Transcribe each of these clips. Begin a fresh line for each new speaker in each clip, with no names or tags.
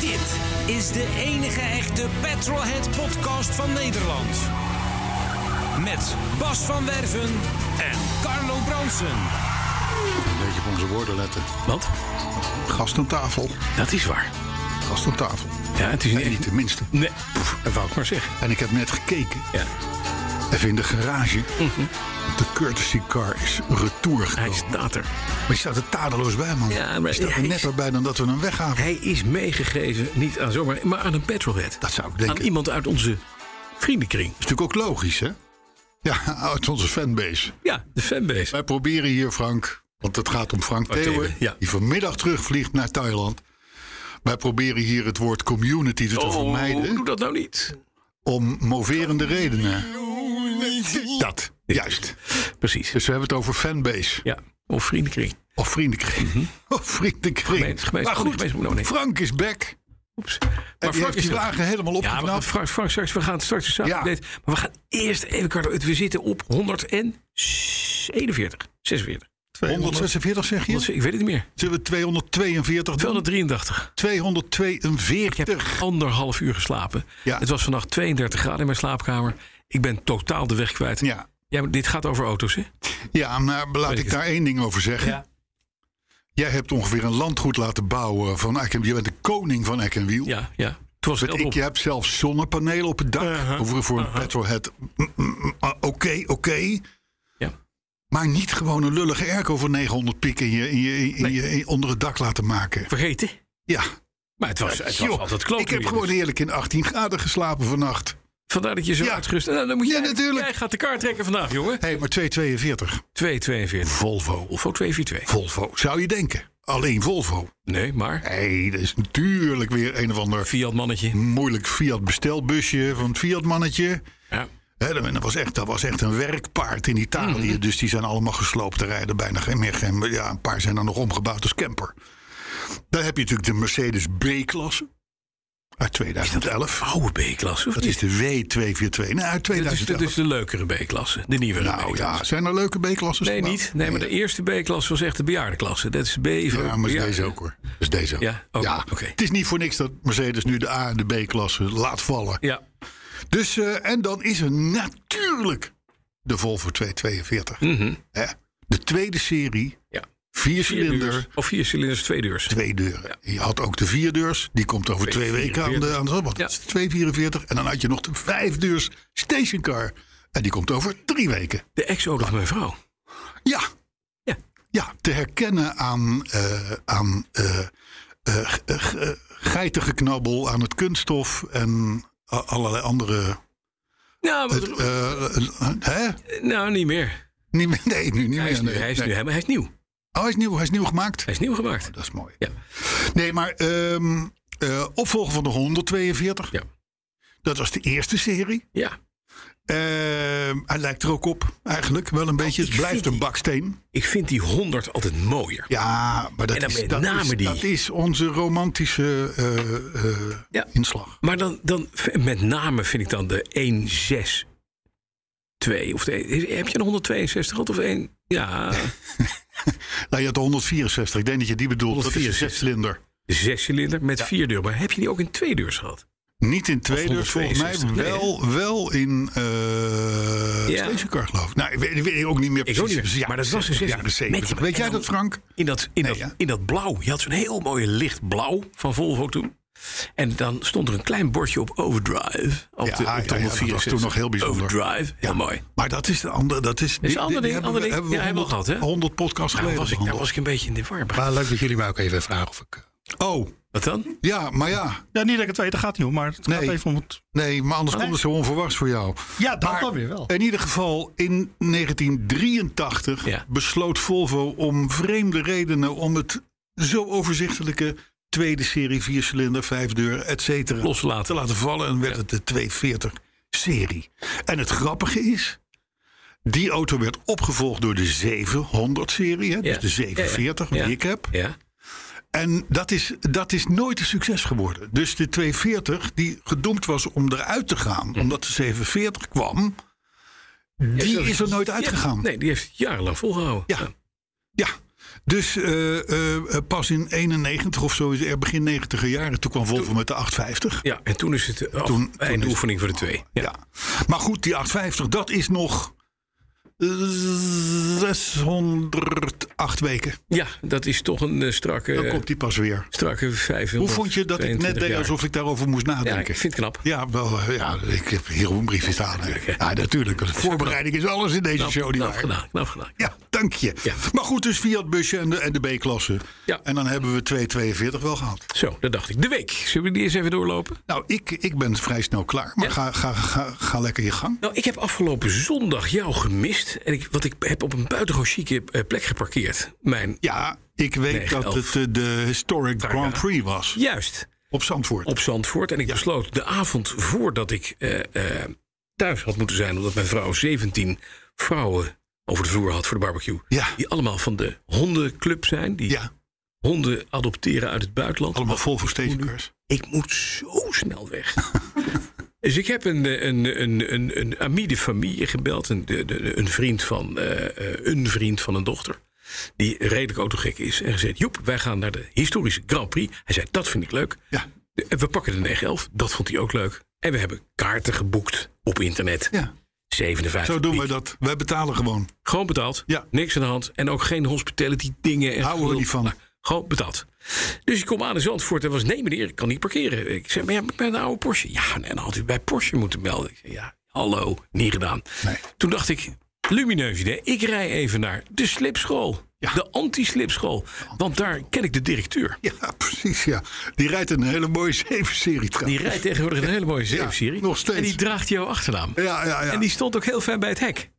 Dit is de enige echte Petrolhead podcast van Nederland. Met Bas van Werven en Carlo Bronsen.
Een beetje op onze woorden letten.
Wat?
Gast aan tafel.
Dat is waar.
Gast aan tafel.
Ja, het is
Nee, niet de minste.
Nee, pff, dat wou ik maar zeggen.
En ik heb net gekeken.
Ja. Mhm.
Even in de garage. De courtesy car is retour gekomen.
Hij staat er.
Maar je staat er tadeloos bij, man.
Ja, maar
je staat er
hij is-
netter bij dan dat we hem weggaven.
Hij is meegegeven, niet aan zomaar, maar aan een petrolhead.
Dat zou ik denken.
Aan iemand uit onze vriendenkring.
is natuurlijk ook logisch, hè? Ja, uit onze fanbase.
Ja, de fanbase.
Wij proberen hier, Frank, want het gaat om Frank
Frank
Theeuwen...
Theeuwen, ja.
die vanmiddag terugvliegt naar Thailand. Wij proberen hier het woord community
Oh.
te vermijden...
doe dat nou niet.
om moverende redenen. Dat, juist.
Precies.
Dus we hebben het over fanbase.
Ja, of vriendenkring.
Of vriendenkring. Of vriendenkring.
Mhm. Gemeente- gemeente-
maar goed,
gemeente- oh, nee.
Frank is back.
Oeps.
En die heeft
is
die
er.
wagen helemaal
Ja,
opgeknapt.
maar Frank, Frank, straks, we gaan straks de
Ja.
update. Maar we gaan eerst even, Carlo, het- we zitten op 141, 46.
146 zeg je?
Wat- Ik weet het niet meer.
eh, Zullen we 242 doen?
283. Ik
242.
heb anderhalf uur geslapen.
Ja.
Het was vannacht 32 graden in mijn slaapkamer. Ik ben totaal de weg kwijt.
Ja.
Ja, maar dit gaat over auto's, hè?
ja, maar laat
Weet
ik
ik
daar één ding over zeggen.
Ja.
Jij hebt ongeveer een landgoed laten bouwen van Eck Je bent de koning van Eck Wiel.
Ja, ja. Het was
Want
geld
ik
op.
heb zelfs zonnepanelen op het dak. Over voor een petrolhead. Mm, mm, ah, Oké, oké.
Ja.
Maar niet gewoon een lullige airco voor 900 piek in je, in je, in je, in je- onder het dak laten maken.
Vergeten.
Ja.
Maar het was, het was
Joh,
altijd dus. klopt.
ik heb gewoon eerlijk in 18 graden geslapen vannacht.
Vandaar dat je zo
Ja.
uitgerust... Nou, dan moet
Ja,
jij,
natuurlijk.
Jij gaat de kaart trekken vandaag, jongen.
Hé, maar 242.
242.
Volvo.
Of ook 242.
Volvo, zou je denken. Alleen Volvo.
Nee, maar...
Hé, dat is natuurlijk weer een of ander
Fiat mannetje.
moeilijk Fiat bestelbusje van het Fiat mannetje.
Ja.
Hè, dat, was echt, dat was echt een werkpaard in Italië.
Mhm.
Dus die zijn allemaal gesloopt. Er rijden bijna geen meer. Geen, ja, een paar zijn dan nog omgebouwd als camper. Dan heb je natuurlijk de Mercedes B-klasse. Uit 2011.
Oude B-klasse, of
Dat
niet?
is de W242. Nou, uit
dat, is,
2011.
dat is de leukere B-klasse. De nieuwere
nou
B-klasse.
ja, zijn er leuke Nou, B-klassen?
Nee, niet. Nee, maar de eerste B-klasse was echt de bejaardenklasse. Dat is B voor
Ja, maar is
bejaarden.
deze ook hoor. Is deze ook.
Ja, ook, oké.
Het is niet voor niks dat Mercedes nu de A en de B-klasse laat vallen.
Ja,
Dus, eh, en dan is er natuurlijk de Volvo 242. Hè? De tweede serie,
ja.
vier
Mhm. Vier
cilinder,
deurs. Of vier cilinders, twee deurs.
twee deuren. Je had ook de vierdeurs, die komt over twee, weken aan de, aan de wat,
Ja.
dat is 244. En dan had je nog de vijfdeurs stationcar. En die komt over drie weken.
De ex-auto van mijn vrouw.
Ja.
Ja.
Ja, te herkennen aan, eh, aan eh, eh, ge- eh, ge- eh, geitengeknabbel, aan het kunststof en a- allerlei andere.
Nou, maar-
eh, eh, hè?
nou niet meer.
Niet meer, nee, nu niet
Hij is,
meer.
nu,
nee,
hij, is
nee.
nu, hij, hij is nieuw.
Oh, hij is nieuw, hij is nieuw gemaakt.
Hij is nieuw gemaakt.
Dat is mooi.
Ja.
Nee, maar ehm, eh, opvolger van de 142.
Ja.
Dat was de eerste serie.
Ja.
Ehm, hij lijkt er ook op, eigenlijk. Wel een beetje.
ik
Het blijft
vind
een
Oh, die-
baksteen.
Ik vind die 100 altijd mooier.
Ja, maar dat,
En dan
is,
met
dat,
name
is,
die-
dat is onze romantische eh, eh,
Ja.
inslag.
Maar dan, dan v- met name vind ik dan de 162. Of de, heb je een 162 gehad of één? Ja,
Nou, je had de 164. Ik denk dat je die bedoelt. Dat is een
164.
zescilinder.
zescilinder met vier deur. Maar heb je die ook in twee deurs gehad?
Niet in tweedeurs, volgens mij
162. Nee,
wel, wel in eh
Ja.
stationcar, geloof ik. Nou, ik weet, ik weet ook niet meer
Ik
precies.
ook niet meer.
Ja,
maar dat was een
60,
zescilinder.
jaren 70.
Met-
Weet jij
en
dat,
dan
Frank?
In dat, in,
Nee,
dat,
ja.
in dat blauw. Je had zo'n heel mooi lichtblauw van Volvo toen. En dan stond er een klein bordje op overdrive. Op
Ja,
de, op de
ja, ja, dat was
164.
toen nog heel bijzonder.
Overdrive, heel mooi.
Maar dat is de andere. Dat is,
een ander ding,
hebben we-
ander ding.
Hebben we
Ja, hebben we
100,
gehad, hè?
100 podcasts
Daar
geleden
was, ik, daar
behandeld.
was ik een beetje in de war. bij.
Maar leuk dat jullie mij ook even vragen of ik eh,
Oh,
Wat dan?
ja, maar ja.
Ja, niet dat ik het weet, daar gaat niet om. Maar het gaat
Nee.
even om het...
Nee, maar
Oh.
anders komt het zo onverwachts voor jou.
Ja, dat
Maar
dan weer wel.
In ieder geval, in 1983
Ja.
besloot Volvo om vreemde redenen om het zo overzichtelijke tweede serie, viercilinder, vijfdeur, et cetera,
Los laten.
te laten vallen. En werd het de 240 serie. En het grappige is, die auto werd opgevolgd door de 700 serie, hè, dus
Ja.
de 740
Ja, ja.
die ik heb.
Ja.
En dat is, dat is nooit een succes geworden. Dus de 240, die gedoemd was om eruit te gaan, omdat de 740 kwam, die is er nooit uitgegaan.
Ja, nee, die heeft het jarenlang volgehouden.
Ja. Ja. Dus eh, eh, eh, pas in 91 of zo, is er begin 90 jaren, toen kwam Volvo met de 850.
Ja, en toen is het af,
Toen-
bij
toen
de
is-
oefening voor de twee.
Ja. Maar goed, die 850, dat is nog eh, 608 weken.
Ja, dat is toch een eh, strakke,
Dan
eh,
komt die pas weer.
strakke 500.
Hoe vond je dat ik net deed alsof ik daarover moest
Ja,
nadenken?
ik vind het knap.
Ja, wel, eh, ja, ik heb hier een briefje staan. hè. Ja, natuurlijk. De voorbereiding is alles in deze
Knap,
show,
knap
nietwaar?
Nou, gedaan, knap gedaan.
Ja, dank je.
Ja.
Maar goed, dus Fiat busje en de, en de B-klasse.
Ja.
En dan hebben we 242 wel gehad.
Zo, dat dacht ik. De week. Zullen we die eens even doorlopen?
Nou, ik, ik ben vrij snel klaar. Maar
Ja.
ga, ga, ga, ga lekker je gang.
Nou, ik heb afgelopen zondag jou gemist. En ik, want ik heb op een buitengewoon chique eh, plek geparkeerd. Mijn,
Ja, ik weet
Nee,
dat
elf.
het eh, de Historic Grand Prix was.
juist,
Op Zandvoort.
op Zandvoort. En ik besloot de avond voordat ik eh, eh, thuis had moeten zijn... omdat mijn vrouw 17 vrouwen over de vloer had voor de barbecue.
Ja.
Die allemaal van de hondenclub zijn. Die
Ja,
honden adopteren uit het buitenland.
allemaal vol voor stationcars.
Ik moet zo snel weg. dus ik heb een, eh, een, een, een, een ami de familie gebeld. Een, de- de- een, vriend van, eh, eh, een vriend van een dochter. Die redelijk autogek is. En gezegd, Joep, wij gaan naar de historische Grand Prix. Hij zei, dat vind ik leuk.
Ja.
De- en We pakken de 911. Dat vond hij ook leuk. En we hebben kaarten geboekt op internet.
Ja,
57
zo doen we
piek.
dat. Wij betalen gewoon.
Gewoon betaald.
Ja.
Niks aan de hand. En ook geen hospitality dingen. En
Houden we
gelul.
niet van.
Maar Gewoon betaald. Dus ik kom aan in Zandvoort en was... Nee meneer, ik kan niet parkeren. Ik zei, maar ja, ik ben een oude Porsche. Ja, en dan had u bij Porsche moeten melden. Ik zei, ja, hallo, niet gedaan.
Nee.
Toen dacht ik, lumineus idee. Ik rij even naar de slipschool. De anti-slipschool. Want daar ken ik de directeur.
Ja, precies. Ja. Die rijdt een hele mooie 7-serie
Die
trouwens.
rijdt tegenwoordig een hele mooie
Ja,
zeepserie.
nog steeds.
En die draagt jouw achternaam.
Ja, ja, Oh. ja.
En die stond ook heel ver bij het hek.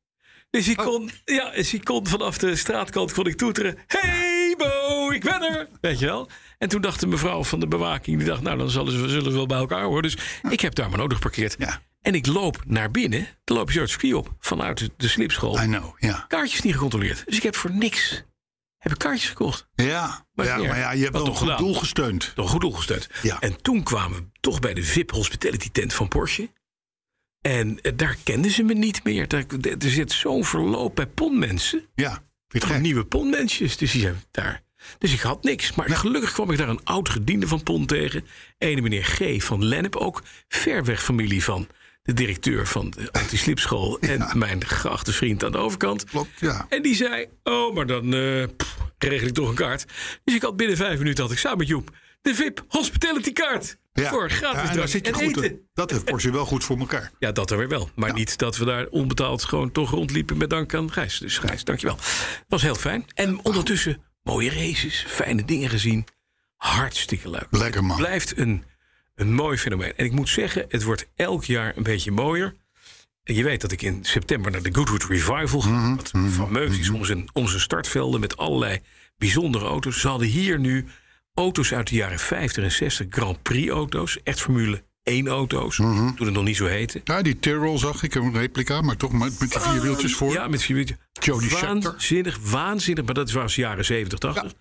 Dus ik kon, ja, dus ik kon vanaf de straatkant kon ik toeteren. Hey Bo, ik ben er. Weet je wel? En toen dacht de mevrouw van de bewaking, die dacht, nou dan zullen ze, zullen ze wel bij elkaar horen. Dus ik heb daar maar nodig geparkeerd.
Ja.
En ik loop naar binnen, dan loop je zo het circuit op vanuit de slipschool.
I know, Ah, ja.
Kaartjes niet gecontroleerd. Dus ik heb voor niks heb ik kaartjes gekocht.
Ja,
Maar
maar ja,
meer.
maar ja je hebt
Wat
wel een
toch
goed
gedaan?
doel gesteund.
Door goed doelgesteund.
Ja.
En toen kwamen we toch bij de VIP Hospitality tent van Porsche. En eh, daar kenden ze me niet meer. Daar, er zit zo'n verloop bij ponmensen.
Ja, vind je het
Gewoon
gek?
nieuwe ponmensjes. Dus die zijn daar. Dus ik had niks. Maar gelukkig kwam ik daar een oud gediende van Pon tegen. Ene meneer G. van Lennep. Ook ver weg familie van de directeur van de antislipschool. En mijn geachte vriend aan de overkant.
Klopt, ja.
Ah. En die zei, oh, maar dan eh, pff, regel ik toch een kaart. Dus ik had binnen vijf minuten, had ik samen met Joep... de VIP Hospitality kaart
ja.
voor gratis
Ja, en daar
drank
zit je
en
goed.
eten.
in. Dat heeft Porsche wel goed voor elkaar.
Ja, dat er weer wel. Maar niet dat we daar onbetaald gewoon toch rondliepen met dank aan Gijs. Dus Gijs, dankjewel. Het was heel fijn. En ondertussen mooie races, fijne dingen gezien. Hartstikke leuk.
Lekker man.
Blijft een, een mooi fenomeen. En ik moet zeggen, het wordt elk jaar een beetje mooier. En Je weet dat ik in september naar de Goodwood Revival ga. wat fameus is om zijn, om zijn startvelden met allerlei bijzondere auto's. Ze hadden hier nu auto's uit de jaren 50 en 60. Grand Prix auto's. Echt Formule 1 auto's. Toen het nog niet zo heette.
Ja, die Tyrrell zag ik, een replica, maar toch met, met die vier wieltjes voor.
Oh, Ja, met vier
Jody Scheckter.
Waanzinnig, waanzinnig. Maar dat was jaren 70, 80.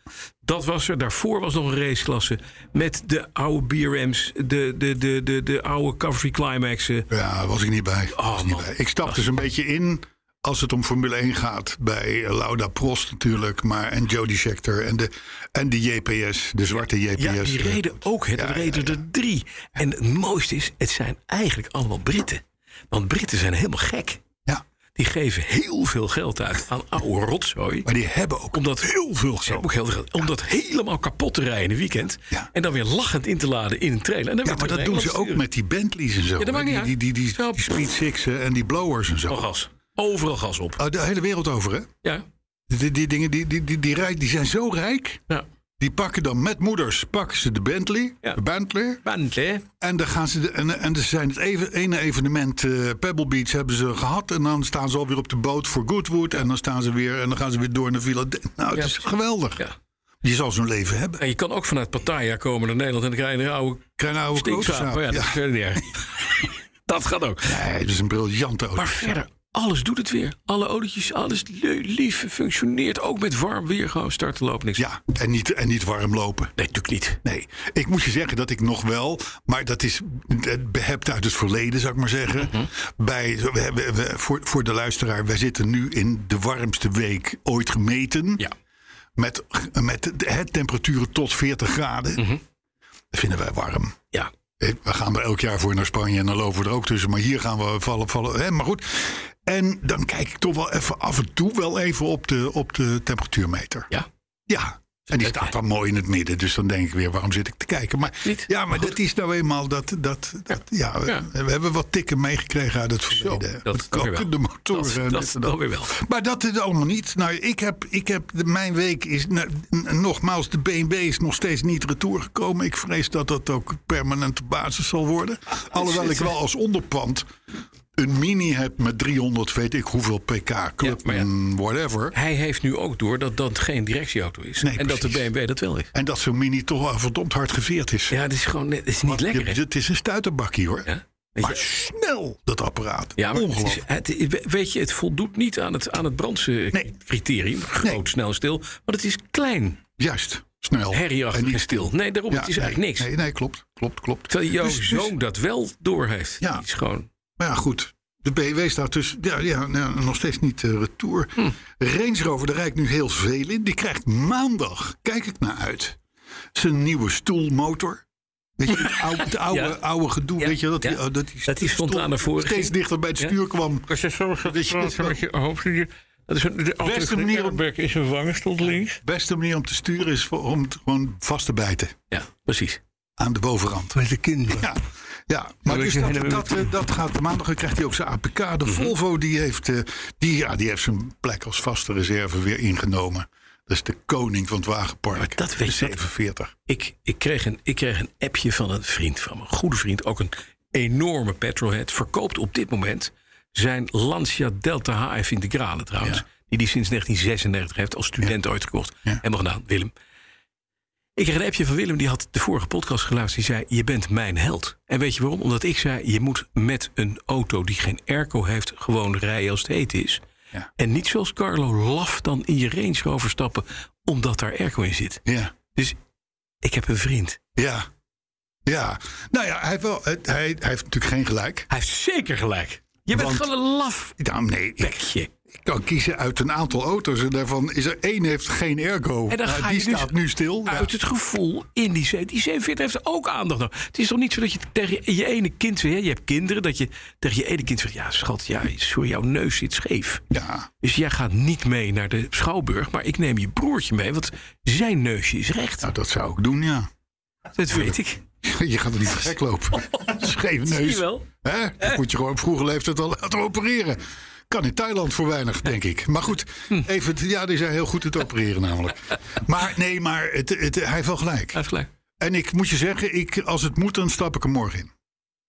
Dat was er. Daarvoor was nog een raceklasse. Met de oude BRM's. De, de, de, de, de oude Covery Climaxen.
Ja, daar was ik niet bij.
Oh,
Was niet
man.
bij. Ik stap dus een beetje in als het om Formule 1 gaat. Bij eh, Lauda Prost natuurlijk, maar en Jody Scheckter en de, en die JPS, de zwarte JPS.
Ja, die reden ook. Het
Ja,
er
ja,
reden er drie. En het mooiste is, het zijn eigenlijk allemaal Britten. Want Britten zijn helemaal gek.
Ja,
Die geven heel veel geld uit aan oude rotzooi.
maar die hebben ook
Omdat
heel veel geld.
Ook heel veel geld. Om dat helemaal kapot te rijden in een weekend.
Ja.
En dan weer lachend in te laden in een trailer. En dan
Ja,
weer
maar
terug
dat
naar
doen ze
Engeland
ook
sturen.
met die Bentleys en zo.
Ja, dat maakt
hè?
niet
die, die, die, die,
uit. Oh,
die Speed Sixen en die Blowers en zo.
Overal gas. Overal gas op.
Oh, de hele wereld over, hè?
Ja.
Die, die dingen die, die, die, die, rijk, die zijn zo rijk.
ja.
Die pakken dan met moeders pakken ze de Bentley.
Ja.
De Bentley.
Bentley.
En dan gaan ze de, en, en er zijn het even, ene evenement eh, Pebble Beach hebben ze gehad. En dan staan ze alweer op de boot voor Goodwood. En dan staan ze weer en dan gaan ze weer door naar Villa. De- Nou, het
Ja,
is
precies.
geweldig.
Ja.
Je zal zo'n leven hebben.
En je kan ook vanuit Pattaya komen naar Nederland en dan krijg je een oude
Krijg nou een oude
stinkzaap.
kooszaap.
Ja, dat
Ja.
is verder niet erg. Dat gaat ook.
Nee, het is een briljante auto.
Maar verder, alles doet het weer. Alle olietjes, alles le- lief functioneert. Ook met warm weer gewoon starten lopen. Niks.
Ja, en niet, en niet warm lopen.
Nee, natuurlijk niet.
Nee, ik moet je zeggen dat ik nog wel, maar dat is eh, behept uit het verleden, zou ik maar zeggen. Bij, we hebben, we- voor, voor de luisteraar, wij zitten nu in de warmste week ooit gemeten.
Ja.
Met, met de, hè, temperaturen tot 40 graden. Dat vinden wij warm.
Ja.
We gaan er elk jaar voor naar Spanje en dan lopen we er ook tussen. Maar hier gaan we vallen, vallen. Hè, maar goed. En dan kijk ik toch wel even af en toe wel even op de, op de temperatuurmeter.
Ja.
Ja. En die staat dan mooi in het midden. Dus dan denk ik weer, waarom zit ik te kijken? Maar,
Niet?
ja, maar dat is nou eenmaal dat... dat, dat ja, we,
Ja.
we hebben wat tikken meegekregen uit het verleden.
dat
Met
kan weer
kokende
wel.
motoren. en
Dat,
dit
dat,
en
dat weer wel.
Maar dat is allemaal niet. Nou, ik heb, ik heb de- mijn week is nou, n- nogmaals de BNB is nog steeds niet retour gekomen. Ik vrees dat dat ook permanente basis zal worden.
Ah,
Alhoewel ik wel als onderpand een mini heb met 300 weet ik hoeveel pk club
maar ja.
en whatever.
Hij heeft nu ook door dat dat geen directieauto is.
Nee,
en dat de
precies.
BMW dat wel is.
En dat zo'n mini toch wel verdomd hard geveerd is.
Ja, het is gewoon het is niet lekker. hè?
Je- Het is een stuiterbakkie hoor.
Ja? Weet
Maar
je-
snel dat apparaat.
Ja, maar het
Ongelooflijk.
is, het, is- weet je, het voldoet niet aan het, aan het brandse
Nee.
criterium. Groot,
Nee.
snel, stil. Maar het is klein,
Juist, snel.
herrieachtig
En
en,
niet
stil.
stil.
Nee, daarom,
Ja,
het is
nee,
eigenlijk niks.
Nee, nee, klopt. Klopt, klopt.
Terwijl jouw
Dus- dus-
zoon dat wel door heeft.
Ja.
Die is gewoon...
Maar ja, goed. De BW staat dus ja, ja, nou, nog steeds niet eh, retour. Range Rover, daar rijdt nu heel veel in. Die krijgt maandag, kijk ik naar uit, zijn nieuwe stoelmotor. Weet je, het oude, het oude,
Ja.
oude gedoe,
Ja,
weet je, dat, die,
ja.
oh, dat, die,
Dat die
stoel
spontaan naar voren
steeds
ging.
dichter bij het
Ja.
stuur kwam.
Als je zo gaat
Dus je-
praten met je hoofdje... Dat is een, de
Beste manier om-
airbag in zijn wangen stond links.
beste manier om te sturen is voor- om het gewoon vast te bijten
Ja, precies.
aan de bovenrand.
Met de kinderen.
Ja, ja. maar
weet
dus
je
dat,
helemaal
dat, eh, dat gaat maandag. Dan krijgt hij ook zijn APK. De
Mhm.
Volvo die heeft, eh, die, ja, die heeft zijn plek als vaste reserve weer ingenomen. Dat is de koning van het wagenpark.
dat weet
De
je-
47.
Ik, ik, kreeg een, ik kreeg een appje van een vriend van me. Een goede vriend, ook een enorme petrolhead. Verkoopt op dit moment zijn Lancia Delta HF Integrale trouwens.
Ja.
Die die sinds 1996 heeft als student ooit gekocht.
Ja.
Helemaal gedaan, Willem. Ik kreeg een appje van Willem, die had de vorige podcast geluisterd. Die zei, je bent mijn held. En weet je waarom? Omdat ik zei, je moet met een auto die geen airco heeft... gewoon rijden als het heet is.
Ja.
En niet zoals Carlo laf dan in je Range Rover stappen... omdat daar airco in zit.
Ja,
Dus ik heb een vriend.
ja. Ja, nou ja, hij heeft, wel, het- hij, hij heeft natuurlijk geen gelijk.
Hij heeft zeker gelijk. Je bent
Want-
gewoon een laf
Nou, nee, ik
bekje.
kan kiezen uit een aantal auto's. En daarvan is er één heeft geen ergo.
En dan
Nou,
ga
die
je dus
staat nu stil. Ja.
Uit het gevoel in die zee. Die zeeveert heeft ook aandacht nodig. Het is toch niet zo dat je tegen je ene kind zegt... hè, Je hebt kinderen, dat je tegen je ene kind zegt... Ja, schat, ja, sorry, jouw neus zit scheef.
ja,
Dus jij gaat niet mee naar de Schouwburg... maar ik neem je broertje mee, want zijn neusje is recht.
nou dat zou ik doen, ja.
Dat weet ik.
Je gaat er niet gek lopen. Scheve
Zie
neus.
je wel.
Hè? Dat moet je gewoon op vroege leeftijd al laten opereren. Kan in Thailand voor weinig, denk ik. Maar goed,
Hm.
even, ja, die zijn heel goed het opereren namelijk. Maar nee, maar het, het, hij heeft wel gelijk.
Hij heeft gelijk.
En ik moet je zeggen, ik, als het moet, dan stap ik er morgen in.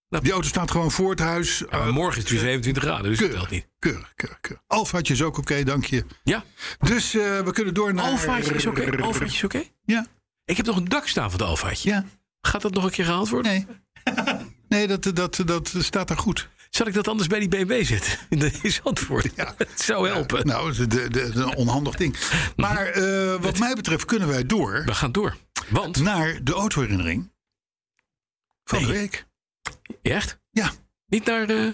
Nou.
Die auto staat gewoon voor het huis.
Ja, maar
Eh,
morgen is het weer 27 graden, dus dat
keurig,
telt niet.
keurig, keurig, keurig. Alfaatje is ook oké, dank je.
Ja,
Dus eh, we kunnen door naar...
alfaatje is oké. Alfaatje is oké.
Ja,
Ik heb nog een dak staan van het alfaatje.
ja,
Gaat dat nog een keer gehaald worden?
nee. Nee, dat, dat, dat staat daar goed.
Zal ik dat anders bij die BMW zetten? In de in Zandvoort.
Ja.
Het zou helpen.
Nou, de, de, de, een onhandig ding. Maar eh, wat mij betreft kunnen wij door
We gaan door. Want,
naar de autoherinnering van de
Nee.
week.
echt?
Ja.
Niet naar, eh,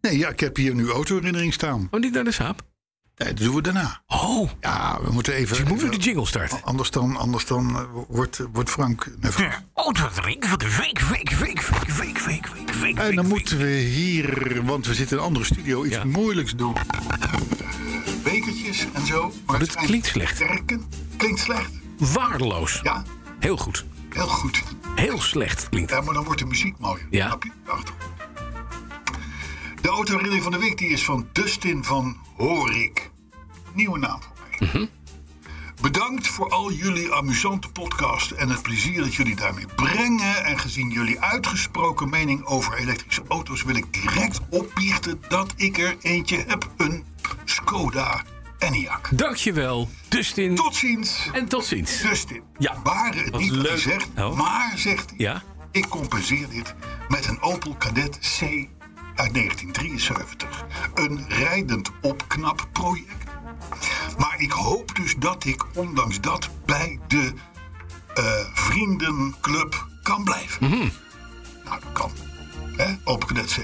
Nee, ja, ik heb hier nu autoherinnering staan.
oh, niet naar de saap.
Nee, dat doen we daarna.
Oh,
Ja, we moeten even...
dus ik moet nu de
even-
jingle starten.
anders dan, anders dan eh, wordt, wordt Frank nerveus.
Oh, Autoring van de week, week, week, week, week, week, week, week.
En dan moeten we hier, want we zitten in een andere studio, iets
Ja.
moeilijks doen. Bekertjes en zo. Maar
dit
zijn
klinkt slecht.
Kerken. Klinkt slecht.
Waardeloos.
Ja,
Heel goed.
heel goed.
Heel slecht klinkt dat.
Ja, maar dan wordt de muziek mooier.
Ja.
Snap je? Achter. De autoherinnering van de week die is van Dustin van Horik. Nieuwe naam voor mij. Bedankt voor al jullie amusante podcast en het plezier dat jullie daarmee brengen. En gezien jullie uitgesproken mening over elektrische auto's wil ik direct opbiechten dat ik er eentje heb. Een Skoda Enyaq.
Dankjewel, Dustin.
Tot ziens.
En tot ziens.
Dustin,
Ja.
waren het
Wat
niet
leuk.
gezegd,
Oh.
maar zegt hij,
Ja.
ik compenseer dit met een Opel Kadett C uit 1973. Een rijdend opknapproject. Maar ik hoop dus dat ik ondanks dat bij de eh, vriendenclub kan blijven.
Mhm.
Nou, dat kan. Hè? Opel Kadett C.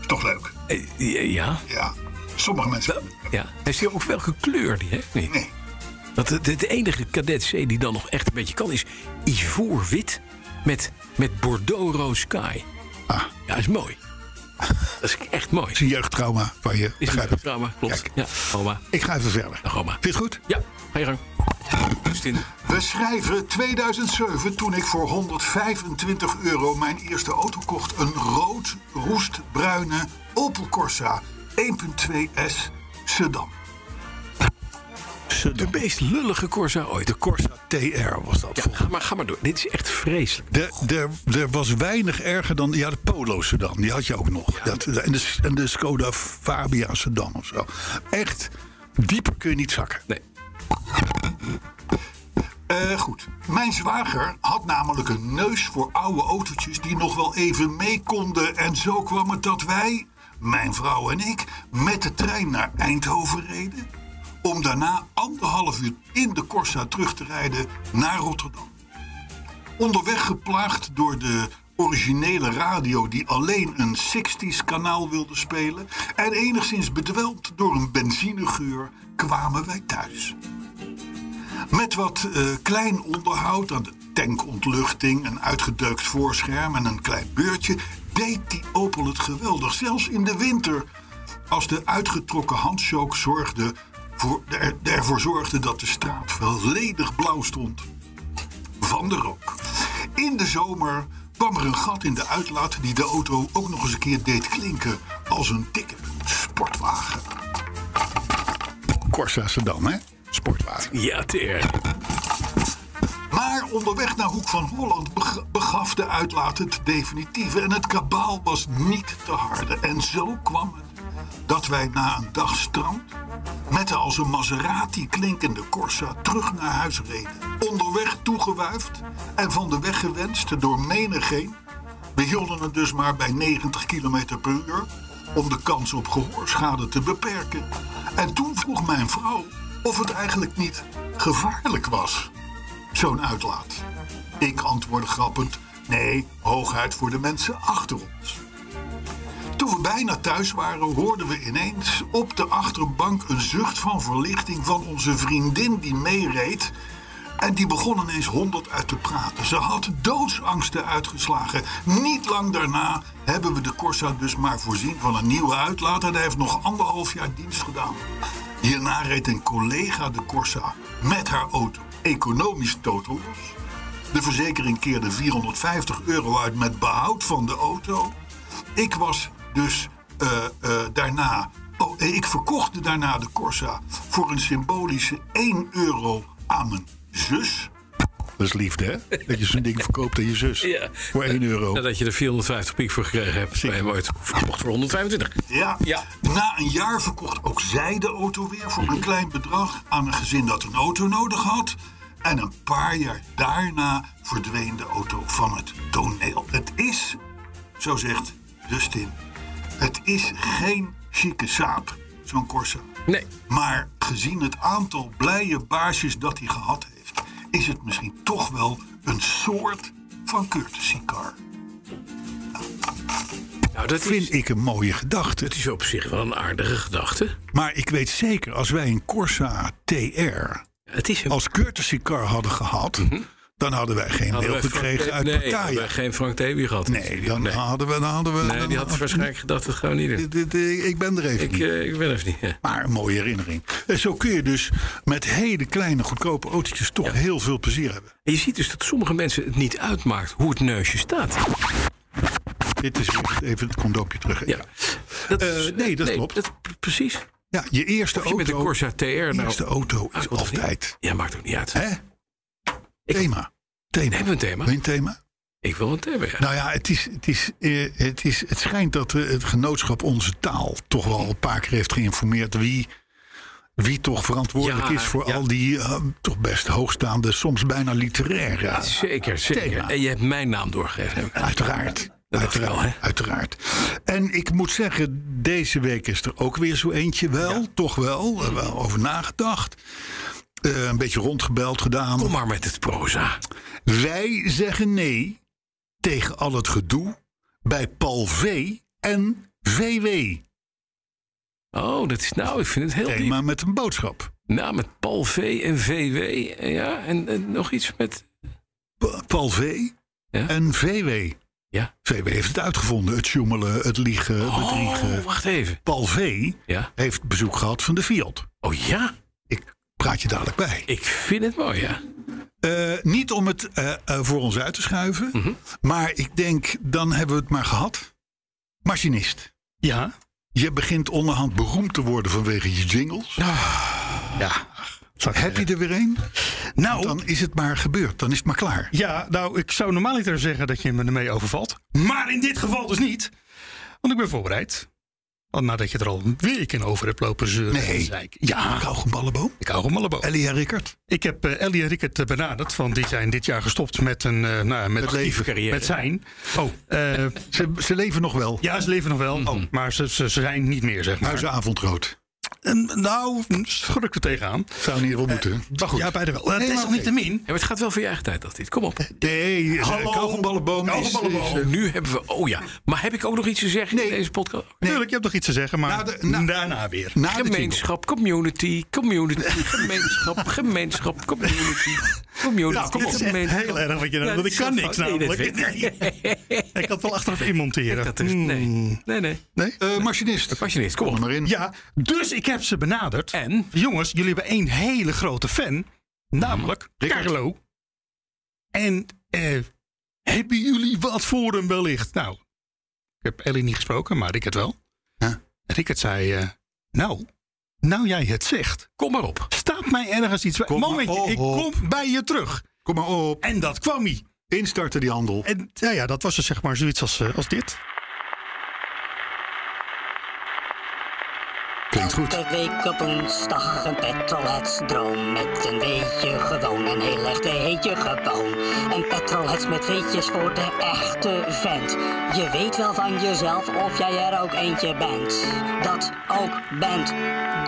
Is toch leuk?
Eh, Ja.
Ja. Sommige mensen...
Ja. Heeft hij ook welke kleur die heeft? Nee.
Nee.
Want het, het enige cadet C die dan nog echt een beetje kan is ivoorwit met, met bordeaux-rood sky.
Ah.
Ja, is mooi. Dat is echt mooi.
Het is een jeugdtrauma van je.
Is Nou,
Begrijp
een
het.
trauma, klopt.
Kijk.
Ja, oma.
Ik ga even verder.
Dag oma.
Vind je het goed?
Ja, ga je gang. Justin.
We schrijven 2007 toen ik voor 125 euro mijn eerste auto kocht. Een rood roestbruine Opel Corsa 1.2S Sedan.
De meest lullige Corsa ooit. De Corsa.
TR was dat.
Ja, ga maar, ga maar door. Dit is echt vreselijk.
Er, er, er was weinig erger dan. Ja, de Polo Sedan, die had je ook nog. Dat, en, de, en de Skoda Fabia Sedan of zo. Echt, dieper kun je niet zakken.
Nee.
Eh, goed. Mijn zwager had namelijk een neus voor oude autootjes die nog wel even mee konden. En zo kwam het dat wij, mijn vrouw en ik, met de trein naar Eindhoven reden. Om daarna anderhalf uur in de Corsa terug te rijden naar Rotterdam. Onderweg geplaagd door de originele radio die alleen een 60s kanaal wilde spelen. En enigszins bedwelmd door een benzinegeur kwamen wij thuis. Met wat eh, klein onderhoud aan de tankontluchting, een uitgedeukt voorscherm en een klein beurtje, deed die Opel het geweldig. Zelfs in de winter, als de uitgetrokken handzook zorgde voor, er, ervoor zorgde dat de straat volledig blauw stond van de rook. In de zomer kwam er een gat in de uitlaat die de auto ook nog eens een keer deed klinken als een dikke sportwagen. Corsa Sedan, hè? Sportwagen.
Ja, TR.
Maar onderweg naar Hoek van Holland beg- begaf de uitlaat het definitieve. En het kabaal was niet te harden. En zo kwam het dat wij na een dag strand... met de als een Maserati klinkende Corsa terug naar huis reden. Onderweg toegewuifd en van de weg gewenst door menigeen. We hielden het dus maar bij 90 km per uur... om de kans op gehoorschade te beperken. En toen vroeg mijn vrouw of het eigenlijk niet gevaarlijk was zo'n uitlaat? Ik antwoordde grappend: nee, hooguit voor de mensen achter ons. Toen we bijna thuis waren, hoorden we ineens op de achterbank een zucht van verlichting van onze vriendin die meereed. En die begon ineens honderd uit te praten. Ze had doodsangsten uitgeslagen. Niet lang daarna hebben we de Corsa dus maar voorzien van een nieuwe uitlaat. En hij heeft nog anderhalf jaar dienst gedaan. Hierna reed een collega de Corsa met haar auto economisch totalos. De verzekering keerde 450 euro uit met behoud van de auto. Ik was dus eh, eh, daarna. Oh, eh, ik verkocht daarna de Corsa voor een symbolische 1 euro aan mijn zus. Dat is liefde, hè? Dat je zo'n ding verkoopt aan je zus.
Ja.
Voor 1
Oh.
euro.
Nadat je er 450 piek voor gekregen hebt, ben je hem ooit verkocht voor 125.
Ja.
Ja.
Na een jaar verkocht ook zij de auto weer voor een klein bedrag aan een gezin dat een auto nodig had. En een paar jaar daarna verdween de auto van het toneel. Het is, zo zegt Dustin, het is geen chique saap, zo'n Corsa.
Nee.
Maar gezien het aantal blije baasjes dat hij gehad heeft, is het misschien toch wel een soort van courtesy car.
Nou, dat is,
Vind ik een mooie gedachte.
dat is op zich wel een aardige gedachte.
Maar ik weet zeker, als wij een Corsa TR
Het is een
als courtesy car hadden gehad... dan hadden wij geen
Mhm. Hadden
mail
wij Frank
gekregen
Te-
uit
nee,
Pattaya.
hadden wij geen Frank Teby gehad.
Nee, dan
nee.
hadden we... Dan hadden we
Nee,
dan
die had
hadden-
waarschijnlijk gedacht, dat gaan we niet doen.
Dit- dit- eh, Ik ben er even
Ik,
niet.
eh, ik ben even niet. ja.
Maar een mooie herinnering. En zo kun je dus met hele kleine, goedkope autootjes... toch heel veel plezier hebben.
En je ziet dus dat sommige mensen het niet uitmaakt hoe het neusje staat.
Dit is weer even het condoopje terug.
Ja. Dat,
Eh, nee, dat klopt.
precies.
Ja, je eerste
Of je met de
auto,
Corsa TR nou...
eerste auto is
Ah, wat
altijd.
Ja, maakt ook niet uit.
Hè? Thema. Thema.
Hebben we een thema?
Wil je een thema?
Ik wil een thema, ja.
Nou ja, het, is, het, is, eh, het, is, het schijnt dat eh, het genootschap onze taal toch wel een paar keer heeft geïnformeerd wie, wie toch verantwoordelijk
Ja,
is voor
ja.
al die eh, toch best hoogstaande, soms bijna literaire.
zeker, zeker.
thema.
En je hebt mijn naam doorgegeven.
Uiteraard.
dacht ik
Uiteraard,
wel, hè?
uiteraard. En ik moet zeggen, deze week is er ook weer zo eentje wel, toch wel, eh, wel over nagedacht. Eh, een beetje rondgebeld gedaan.
Kom maar met het proza.
Wij zeggen nee tegen al het gedoe bij Paul V en VW.
Oh, dat is nou, ik vind het heel diep.
Thema met een boodschap.
Nou, met Paul V en VW. Ja, en, en nog iets met...
Pa- Paul V
Ja.
en VW.
Ja.
VW heeft het uitgevonden, het joemelen, het liegen, het bedriegen.
Oh, wacht even.
Paul V
Ja.
heeft bezoek gehad van de Fiat.
Oh ja,
Ik praat je dadelijk bij.
ik vind het mooi, ja.
Eh, niet om het eh, eh, voor ons uit te schuiven,
Mhm.
maar ik denk, dan hebben we het maar gehad. Machinist,
Ja.
je begint onderhand beroemd te worden vanwege je jingles.
Ja.
Heb je er weer een?
Nou,
Dan is het maar gebeurd, dan is het maar klaar.
ja, nou, ik zou normaal niet zeggen dat je me ermee overvalt. Maar in dit geval dus niet. Want ik ben voorbereid. Want nadat je er al een week in over hebt lopen zeuren.
Nee.
en zeiken- Ja,
Kauwgemballenboom,
ik hou hem allemaal.
Ellie en Rickert.
Ik heb eh, Ellie en Rickert eh, benaderd. Van dit zijn dit jaar gestopt met een. eh nou, met,
Het leven.
Carrière.
met zijn. Oh.
Ze, ze leven nog wel.
ja, ze leven nog wel. Maar ze, ze, ze zijn niet meer, zeg maar.
Huizenavondrood.
En, nou, schrik er tegenaan.
Zou niet wel moeten. Maar goed.
Ja, beide wel. Eh, het is
maar
nog niet te min.
Ja, maar het gaat wel voor je eigen tijd, dat dit. Kom
Eh,
op.
Nee,
Hallo.
kauwgemballenboom is... is, eh,
Nu hebben we... Oh ja, maar heb ik ook nog iets te zeggen
Nee.
in deze podcast?
Tuurlijk, je hebt nog iets te zeggen, maar
Na de- na-
daarna weer.
na de jingle.
Gemeenschap, community, community, gemeenschap, gemeenschap, community, community.
Nou, kom op. Dit is echt
gemeenschap.
heel erg wat je nou- want ik
dit
kan
is
niks
wel- nee,
namelijk.
dat weet
Ik kan het wel achteraf inmonteren.
Dat is, nee,
Hmm.
nee, nee.
Nee?
Eh, machinist.
Machinist, kom
Kom er
op.
maar in.
Ja, dus ik heb ze benaderd.
En?
Jongens, jullie hebben één hele grote fan. Namelijk
Mhm, Rickert.
Carlo. En eh, hebben jullie wat voor hem wellicht? Nou, ik heb Ellie niet gesproken, maar Rickert wel.
Huh?
Rickert zei, eh, nou, nou jij het zegt.
Kom maar op.
Staat mij ergens iets...
Kom maar
Momentje, ik
op.
kom bij je terug.
Kom maar op.
En dat kwam hij.
Instarten die handel.
En nou ja, dat was dus zeg maar zoiets als, eh, als dit.
Klinkt goed.
Elke week op woensdag een petrolheadsdroom. Met een weetje gewoon, een heel echt heetje gewoon. En petrolheads met weetjes voor de echte vent. Je weet wel van jezelf of jij er ook eentje bent. Dat ook bent.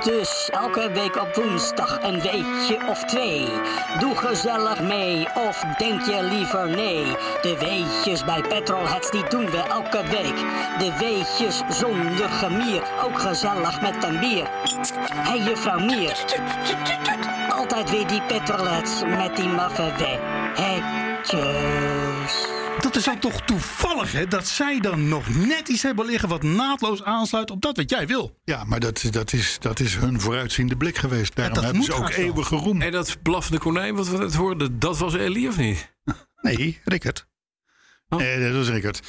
Dus elke week op woensdag een weetje of twee. Doe gezellig mee of denk je liever nee. De weetjes bij petrolheads die doen we elke week. De weetjes zonder gemier, ook gezellig met een bier. Hey juffrouw Mier. Altijd weer die petrolheads met die maffe weetjes.
Dat is dan toch toevallig, hè? Dat zij dan nog net iets hebben liggen wat naadloos aansluit op dat wat jij wil.
Ja, maar dat, dat, is, dat is hun vooruitziende blik geweest. Daarom
dat
hebben
moet
ze ook
haast wel.
eeuwig geroemd.
En dat blaffende konijn wat we net hoorden, dat was Ellie of niet?
Nee, Rickert.
Eh, dat is Rickert.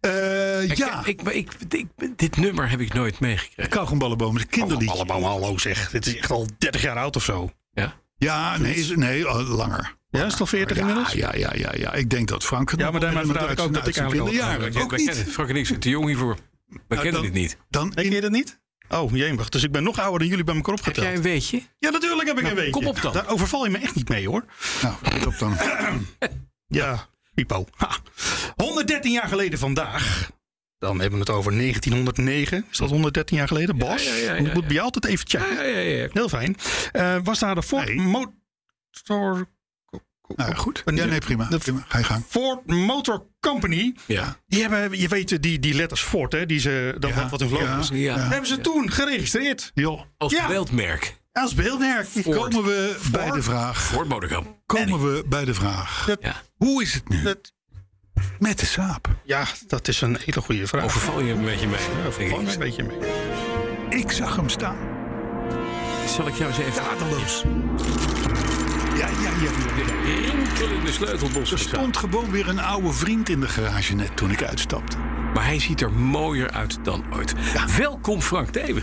Eh,
Ik-
ja,
Ik, maar ik, ik- dit nummer heb ik nooit meegekregen.
kauwgemballenboom is een kinderliedje.
Allemaal hallo Oh, zeg. Dit is echt al 30 jaar oud of zo.
Ja?
Ja, nee, is- nee al langer.
Ja, is het al 40
Ja,
inmiddels?
ja, ja, ja, ja. Ik denk dat Frank... het
Ja,
nog
maar daarmee
herinnert
vertel ik
uit
ook
zijn-
dat ik
uit zijn
eigenlijk al-
kinderjaren.
Wij Nou, kennen, Frank en ik zijn te jong hiervoor. We kennen
dan-
dit niet.
Dan
Ik
in-
ken je dat niet? Oh, jemig. Dus ik ben nog ouder dan jullie bij elkaar
Heb
opgeteld.
jij een weetje?
Ja, natuurlijk heb ik een weetje.
kom op dan.
Daar overval je me echt niet mee, hoor.
Nou, let op dan. Nou
Ja, Pipo. Ha. 113 jaar geleden vandaag. Dan hebben we het over 1909. Is dat 113 jaar geleden? Bas?
ja, ja, ja,
Want ik moet
ja.
bij jou altijd even checken.
Ja, ja, ja.
Heel fijn. Eh, was daar de Ford
Nee.
Motor...
Nou, goed.
Ben-
Ja, nee, prima.
Dat-
prima. Ga je gang.
Ford Motor Company.
ja.
Die hebben, je weet die, die letters Ford, hè, die ze, dat
Ja,
wat- wat hun logo
ja.
is.
ja.
Dat hebben ze toen geregistreerd.
Joh,
Als
Ja.
beeldmerk.
Als beeldwerk.
komen
eh,
we bij de vraag...
Ford Motorkamp.
Komen we bij de vraag...
Ja.
Hoe is het nu
Dat,
met de saap?
ja, dat is een hele goede vraag.
Overval je een beetje mee. denk
Valt me een
ik.
beetje mee.
Ik zag hem staan.
Zal ik jou eens even...
Dadeloos. Ja, ja, ja.
De rinkelende
Er
sleutelbos.
stond gewoon weer een oude vriend in de garage net toen ik uitstapte.
Maar hij ziet er mooier uit dan ooit. Welkom Frank Thewe.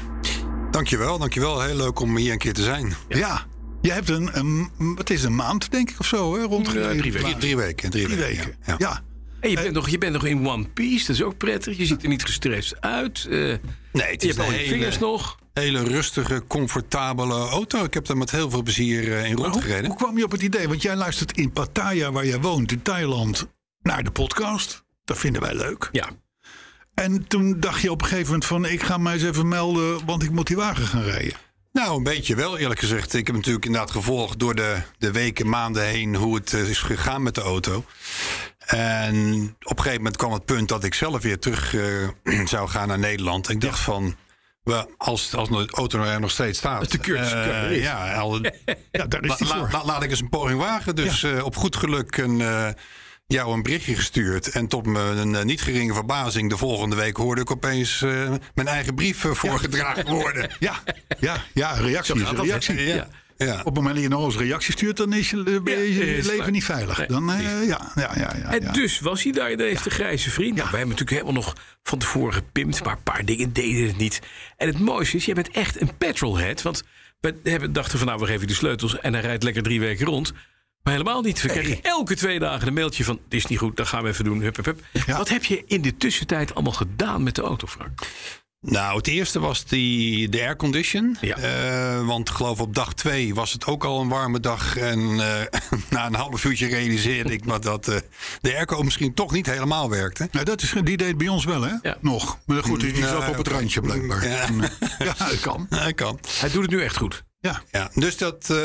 Dankjewel, dankjewel. Heel leuk om hier een keer te zijn.
Ja. Je hebt een, een, het is een maand, denk ik, of zo, hè? Rond
Ja, drie weken.
Drie, drie weken. Drie,
Drie weken.
Ja. ja.
ja.
En je bent, nog, je bent nog in One Piece, dat is ook prettig. Je ziet er niet gestrest uit. eh,
Nee, het
je
is
hebt al
een
je vingers
hele,
nog.
hele rustige, comfortabele auto. Ik heb daar met heel veel plezier eh, in
Maar hoe,
rondgereden.
hoe kwam je op het idee? Want jij luistert in Pattaya, waar jij woont, in Thailand, naar de podcast. Dat vinden wij leuk.
Ja,
En toen dacht je op een gegeven moment van... ik ga mij eens even melden, want ik moet die wagen gaan rijden.
Nou, een beetje wel, eerlijk gezegd. Ik heb natuurlijk inderdaad gevolgd door de, de weken, maanden heen hoe het eh, is gegaan met de auto. En op een gegeven moment kwam het punt dat ik zelf weer terug eh, zou gaan naar Nederland. En ik dacht van, wel, als, als de auto er nog steeds staat.
De cursus-
eh,
cursus.
ja, al,
Ja, daar is
la-
die
la-
voor.
la- laat ik eens een poging wagen. Dus eh, op goed geluk een, eh, jou een berichtje gestuurd. En tot mijn eh, niet geringe verbazing de volgende week hoorde ik opeens eh, mijn eigen brief eh, voorgedragen worden.
ja, ja, ja, reactie is een reactie.
Ja. ja.
Op het moment dat je nou eens reactie stuurt, dan is je, eh, ben je
Ja,
je
eh, is
leven
waar.
niet veilig.
Nee,
Dan, eh,
precies.
ja, ja, ja, ja,
En
ja.
dus was hij daar, deze grijze vriend. Nou, wij hebben natuurlijk helemaal nog van tevoren gepimpt, maar een paar dingen deden het niet. En het mooiste is, je bent echt een petrolhead. Want we hebben, dachten van nou, we geven je de sleutels en hij rijdt lekker drie weken rond. Maar helemaal niet. We kregen elke twee dagen een mailtje van, dit is niet goed, dat gaan we even doen. Hup, hup, hup. Wat heb je in de tussentijd allemaal gedaan met de auto, Frank?
Nou, het eerste was die, de aircondition.
Ja.
Eh, want ik geloof op dag twee was het ook al een warme dag. En eh, na een half uurtje realiseerde ik me dat eh, de airco misschien toch niet helemaal werkte.
Nou, dat is, die deed bij ons wel, hè?
Ja.
Nog. Maar goed, die is
Nou,
ook op het
oké.
randje
mm.
blijkbaar.
Ja.
Ja, dat kan.
Ja, dat kan.
Hij doet het nu echt goed.
Ja.
Ja, dus dat, eh,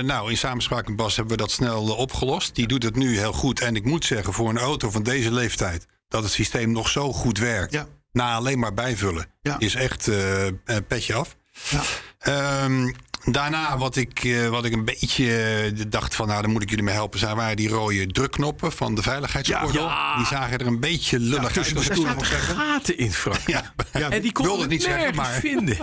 nou, in samenspraak met Bas hebben we dat snel eh, opgelost. Die doet het nu heel goed. En ik moet zeggen, voor een auto van deze leeftijd, dat het systeem nog zo goed werkt.
Ja.
Na alleen maar bijvullen.
Ja.
Is echt eh, een petje af.
Ja.
Ehm, daarna, wat ik, eh, wat ik een beetje eh, dacht van, nou, dan moet ik jullie mee helpen. Zijn waren die rode drukknoppen van de veiligheidsgordel.
Ja, ja.
Die zagen er een beetje lullig uit. als ik toen mag zeggen.
Gaten in, Frank.
Ja,
En die kon
wilde
het
het niet zeggen,
nergens
maar-
vinden.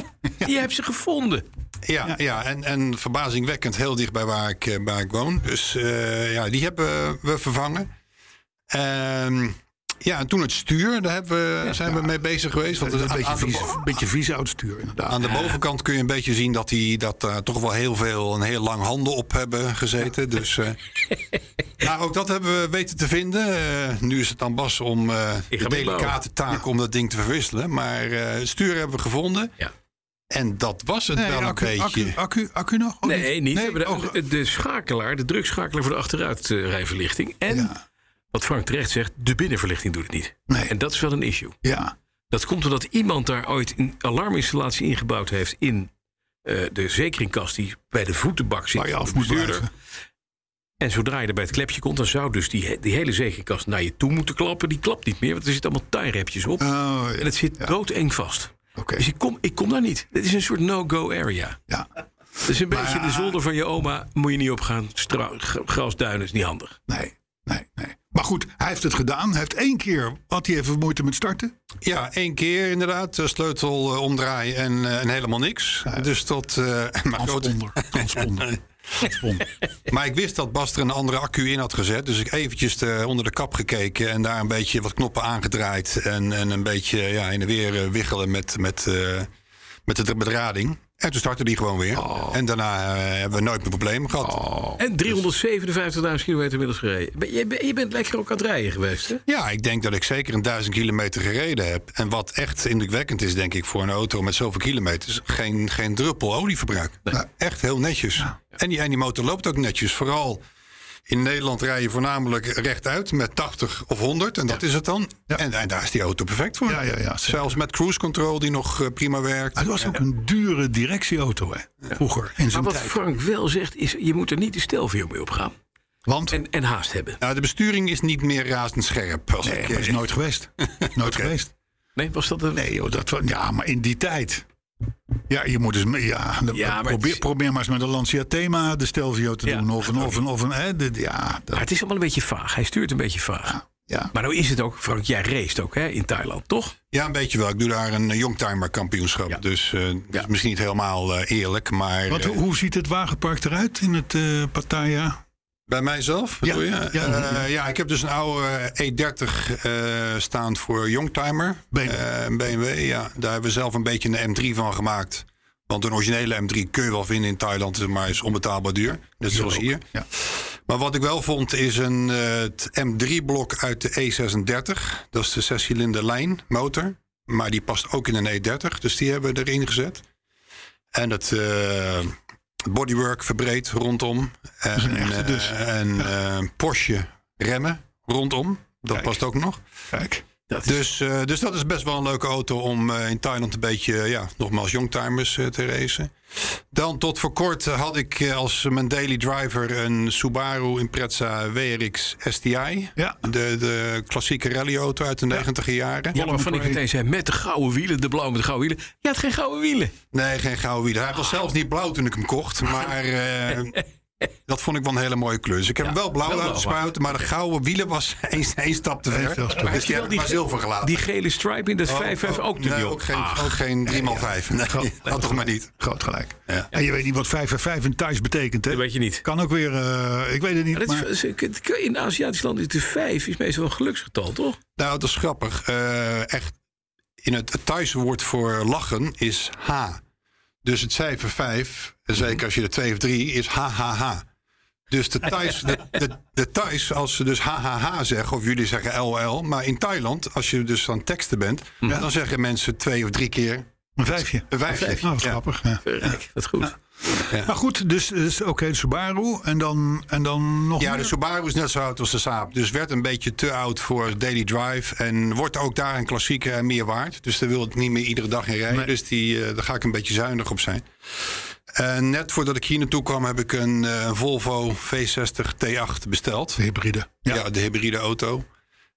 Je hebt ze gevonden.
Ja, ja. en, en verbazingwekkend heel dicht bij waar ik, eh, waar ik woon. Dus eh, ja, die hebben we vervangen. Ehm, ja, en toen het stuur, daar hebben we, zijn we mee bezig geweest. Want
Dat is een
aan-
beetje
aan de
vies,
bo-
beetje vies uitstuur, inderdaad.
aan de bovenkant kun je een beetje zien dat die dat daar toch wel heel veel een heel lang handen op hebben gezeten. Dus, eh maar ook dat hebben we weten te vinden. Eh, nu is het aan Bas om eh de
meebouwen.
delicate taak om dat ding te verwisselen. Maar eh, het stuur hebben we gevonden.
Ja.
En dat was het wel een
accu,
beetje.
accu, accu, accu nog? Of
Nee, Oh, niet. We hebben
ook-
de, de schakelaar, de drugschakelaar voor de achteruitrijverlichting. En wat Frank terecht zegt, de binnenverlichting doet het niet.
Nee.
En dat is wel een issue.
ja.
Dat komt omdat iemand daar ooit een alarminstallatie ingebouwd heeft in eh, de zekeringkast die bij de voetenbak zit.
Waar je
van
af
de
moet
bestuurder.
blijven.
En zodra je er bij het klepje komt, dan zou dus die, he- die hele zekeringkast naar je toe moeten klappen. Die klapt niet meer, want er zitten allemaal tuinrepjes op.
Oh,
en
ja.
het zit doodeng vast.
Oké.
Dus ik kom, ik kom daar niet. Dit is een soort no-go area.
ja.
Dat is een beetje de zolder van je oma. Moet je niet op gaan. Stra- g- Grasduinen is niet handig.
Nee, nee, nee. Maar goed, hij heeft het gedaan. Hij heeft één keer, had hij even moeite met starten.
Ja, één keer inderdaad. De Sleutel eh, omdraaien en, eh, en helemaal niks. Dus dat... eh, maar, grote-
Transponder. Transponder. Transponder.
maar ik wist dat Bas er een andere accu in had gezet. Dus ik eventjes eh, onder de kap gekeken en daar een beetje wat knoppen aangedraaid. En, en een beetje ja, in de weer eh, wiggelen met, met, eh, met de bedrading. En toen startte die gewoon weer.
Oh.
En daarna eh, hebben we nooit meer problemen gehad.
en 357.000 kilometer inmiddels gereden. Ben- Je, ben- je bent lekker ook aan het rijden geweest, hè?
Ja, ik denk dat ik zeker een duizend kilometer gereden heb. En wat echt indrukwekkend is, denk ik, voor een auto met zoveel kilometers, geen, geen druppel olieverbruik. Nou, echt heel netjes. En, die, en die motor loopt ook netjes. Vooral in Nederland rij je voornamelijk rechtuit met 80 of 100, en dat is het dan. En, en daar is die auto perfect voor.
Ja, ja, ja, zeker.
Zelfs met cruise control, die nog eh, prima werkt.
Het was ook een dure directieauto, hè? Vroeger, in
Maar
zijn
wat
tijd.
Frank wel zegt, is je moet er niet de stelvio mee opgaan.
Want,
En, en haast hebben.
Nou, de besturing is niet meer razend scherp. Als
nee,
ik,
maar is
eh,
nooit geweest. Nooit geweest.
Nee, was dat een...
Nee, joh, dat, wa- ja, maar in die tijd. Ja, je moet eens... mee- Ja,
Ja, maar het
probeer,
is-
probeer maar eens met een Lancia Thema de Stelvio te
Ja,
doen. Of een... Of een, of een hè, dit- ja,
Maar
dat,
het is allemaal een beetje vaag. Hij stuurt een beetje vaag.
ja.
Maar nou is het ook, Frank, jij raced ook hè, in Thailand, toch?
Ja, een beetje wel. Ik doe daar een eh, youngtimer kampioenschap.
Ja.
Dus eh, dat is misschien niet helemaal eh, eerlijk. Maar
Wat,
eh,
hoe- hoe ziet het wagenpark eruit in het eh Pattaya?
bij mijzelf?
Ja,
bedoel je?
ja.
Eh, ja, ik heb dus een oude E30 eh, staan voor youngtimer.
BMW.
Eh, een BMW, ja. Daar hebben we zelf een beetje een M3 van gemaakt. Want een originele M3 kun je wel vinden in Thailand, maar is onbetaalbaar duur. Net zoals hier.
Ja.
Maar wat ik wel vond is een eh, het M3-blok uit de E36. Dat is de zescilinder lijn motor. Maar die past ook in een E30, dus die hebben we erin gezet. En het eh, bodywork verbreed rondom. En,
echte dus.
eh, en eh, Porsche remmen rondom. Dat
Kijk.
past ook nog.
Kijk.
Dus, eh, dus dat is best wel een leuke auto om eh, in Thailand een beetje, eh, ja, nogmaals, youngtimers eh, te racen. Dan tot voor kort eh, had ik eh, als mijn daily driver een Subaru Impreza WRX STI.
Ja.
De, de klassieke rallyauto uit de 90e jaren.
Ja, waarvan ik meteen zei, met de gouden wielen, de blauwe met de gouden wielen. Je had geen gouden wielen.
Nee, geen gouden wielen. Hij was zelfs niet blauw toen ik hem kocht, maar eh, dat vond ik wel een hele mooie kleur. Dus ik heb hem wel blauw
wel blauw,
uitgespuiten, maar de gouden wielen was één, één stap te ver.
stap te
Dus die heb ik maar zilver gelaten.
Die gele stripe in dat 5-5 ook
Oh, nee,
natuurlijk.
ook geen,
Ah.
ook geen 3x5. Nee, had toch maar niet.
Groot gelijk.
Ja.
En je weet niet wat 5 en 5 in thuis betekent, hè?
Dat weet je niet.
Kan ook weer, eh, ik weet het niet.
Maar dat
maar-
is, in Aziatisch land is de 5 is meestal wel een geluksgetal, toch?
Nou, dat is grappig. Eh, echt, in het het thuiswoord voor lachen is H. Dus het cijfer 5, zeker als je er 2 of 3, is HHH. Dus de thuis, de, de, de thuis, als ze dus HHH zeggen, of jullie zeggen LL, maar in Thailand, als je dus aan het teksten bent, dan zeggen mensen twee of drie keer
een vijfje.
een vijfje.
Oh,
Ja.
grappig. Ja.
Rijk, dat is goed.
Maar goed, dus, dus oké, de Subaru en dan, en dan nog
Ja,
meer?
de Subaru is net zo oud als de Saab. Dus werd een beetje te oud voor daily drive. En wordt ook daar een klassieker en meer waard. Dus daar wil ik niet meer iedere dag in rijden. Dus die, eh, daar ga ik een beetje zuinig op zijn. En net voordat ik hier naartoe kwam heb ik een eh, Volvo V60 T8 besteld.
de hybride.
Ja, de hybride auto.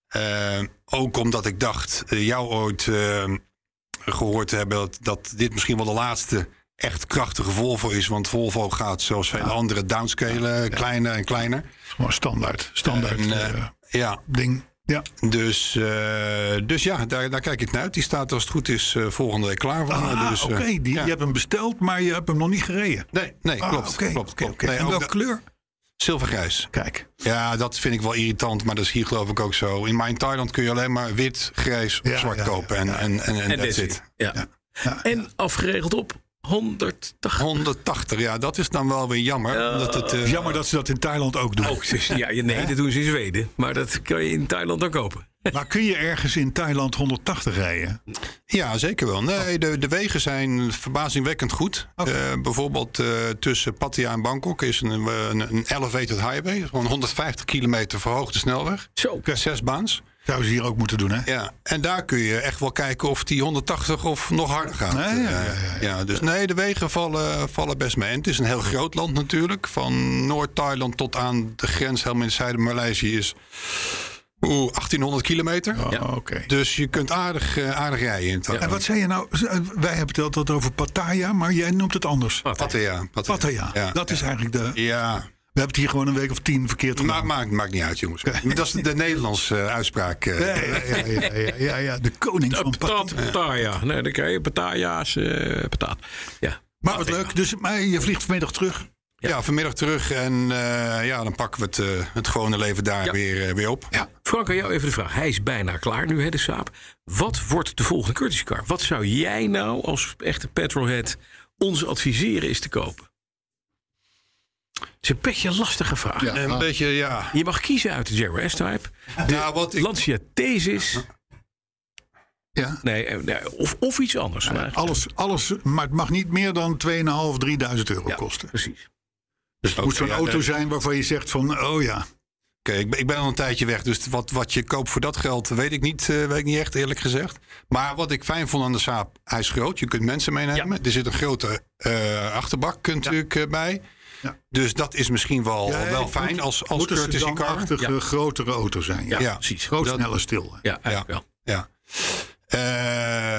Eh, ook omdat ik dacht, eh, jou ooit eh, gehoord te hebben... Dat, dat dit misschien wel de laatste echt krachtige Volvo is. Want Volvo gaat, zoals vele andere, downscalen. Kleiner en kleiner.
Gewoon standaard. Standaard
En, eh,
eh,
ja,
ding. Ja.
dus, eh, dus ja, daar, daar kijk ik naar uit. Die staat als het goed is eh, volgende week klaar. voor me.
Ah,
dus, eh,
oké, die-
ja.
je hebt hem besteld, maar je hebt hem nog niet gereden.
Nee, nee
Ah,
klopt,
oké,
klopt,
oké,
klopt.
oké.
Nee,
en
ook
welke
dat-
kleur?
Zilvergrijs.
Kijk,
Ja, dat vind ik wel irritant, maar dat is hier geloof ik ook zo. In mijn Thailand kun je alleen maar wit, grijs of
Ja,
zwart
ja, ja,
kopen. En, en, en, en
En
that's
deze.
it.
Ja. En afgeregeld op 180.
180, ja, dat is dan wel weer jammer. omdat het, eh,
jammer dat ze dat in Thailand ook doen.
Ook, dus, ja, nee, dat doen ze in Zweden. Maar dat kan je in Thailand dan kopen.
Nou,
Maar kun je ergens in Thailand 180 rijden?
Ja, zeker wel.
Oh.
Nee, de, de wegen zijn verbazingwekkend goed. Eh, bijvoorbeeld eh, tussen Pattaya en Bangkok is een, eh, een, een elevated highway. Gewoon 150 kilometer verhoogde snelweg.
Zo.
Zes baans.
Zou ze hier ook moeten doen, hè?
Ja. En daar kun je echt wel kijken of die 180 of nog harder gaat.
Nee, ja, ja,
Eh,
ja,
dus nee, de wegen vallen, vallen best mee. En het is een heel groot land natuurlijk. Van Noord-Thailand tot aan de grens helemaal in het zuiden Maleisië is... Oeh, 1800 kilometer.
Oh, oké.
Dus je kunt aardig, eh, aardig rijden in het
En wat zei je nou? Z- eh, Wij hebben het altijd over Pattaya, maar jij noemt het anders.
Pattaya. Pattaya.
Pattaya.
Ja.
dat is eigenlijk de...
Ja,
We hebben het hier gewoon een week of tien verkeerd gedaan.
maakt, maakt, maakt niet uit, jongens. Dat is de Nederlandse eh, uitspraak. eh.
Ja, ja, ja, ja, ja, ja, ja, de koning van
Patat,
Pattaya.
pataya. Nee, dan krijg je pataya's, eh patat. Ja.
Maar wat leuk, dus maar je vliegt vanmiddag terug.
ja. vanmiddag terug en eh, ja, dan pakken we het, eh, het gewone leven daar
Ja.
weer, eh, weer op. Ja.
Frank, aan jou even de vraag. Hij is bijna klaar nu, hè, de Saab. Wat wordt de volgende courtesy car? Wat zou jij nou als echte petrolhead ons adviseren is te kopen? Het is een beetje een lastige vraag.
Een beetje, ja.
Je mag kiezen uit de Jaguar S-Type.
Nou, wat ik,
Lancia Thesis.
Ja.
Nee, eh, nee, of, of iets anders. Maar eigenlijk-
Alles, alles, maar het mag niet meer dan 2.500, 3.000 euro
Ja,
kosten.
Precies.
Dus het moet zo'n
ja,
auto
nee.
zijn waarvan je zegt van, oh ja.
Oké, ik, ben, ik ben al een tijdje weg, dus wat, wat je koopt voor dat geld weet ik, niet, eh, weet ik niet echt, eerlijk gezegd. Maar wat ik fijn vond aan de Saab, hij is groot. Je kunt mensen meenemen. Er zit een grote eh, achterbak natuurlijk eh, bij.
Ja.
Dus dat is misschien wel,
Ja,
wel
het
fijn
moet-
als, als
Moeten ze
courtesy
dan
car.
achtige,
Ja.
grotere auto zijn. Ja,
Ja.
Precies.
groot,
Dat-
snel en stil.
Ja, eigenlijk
Ja.
wel.
Ja.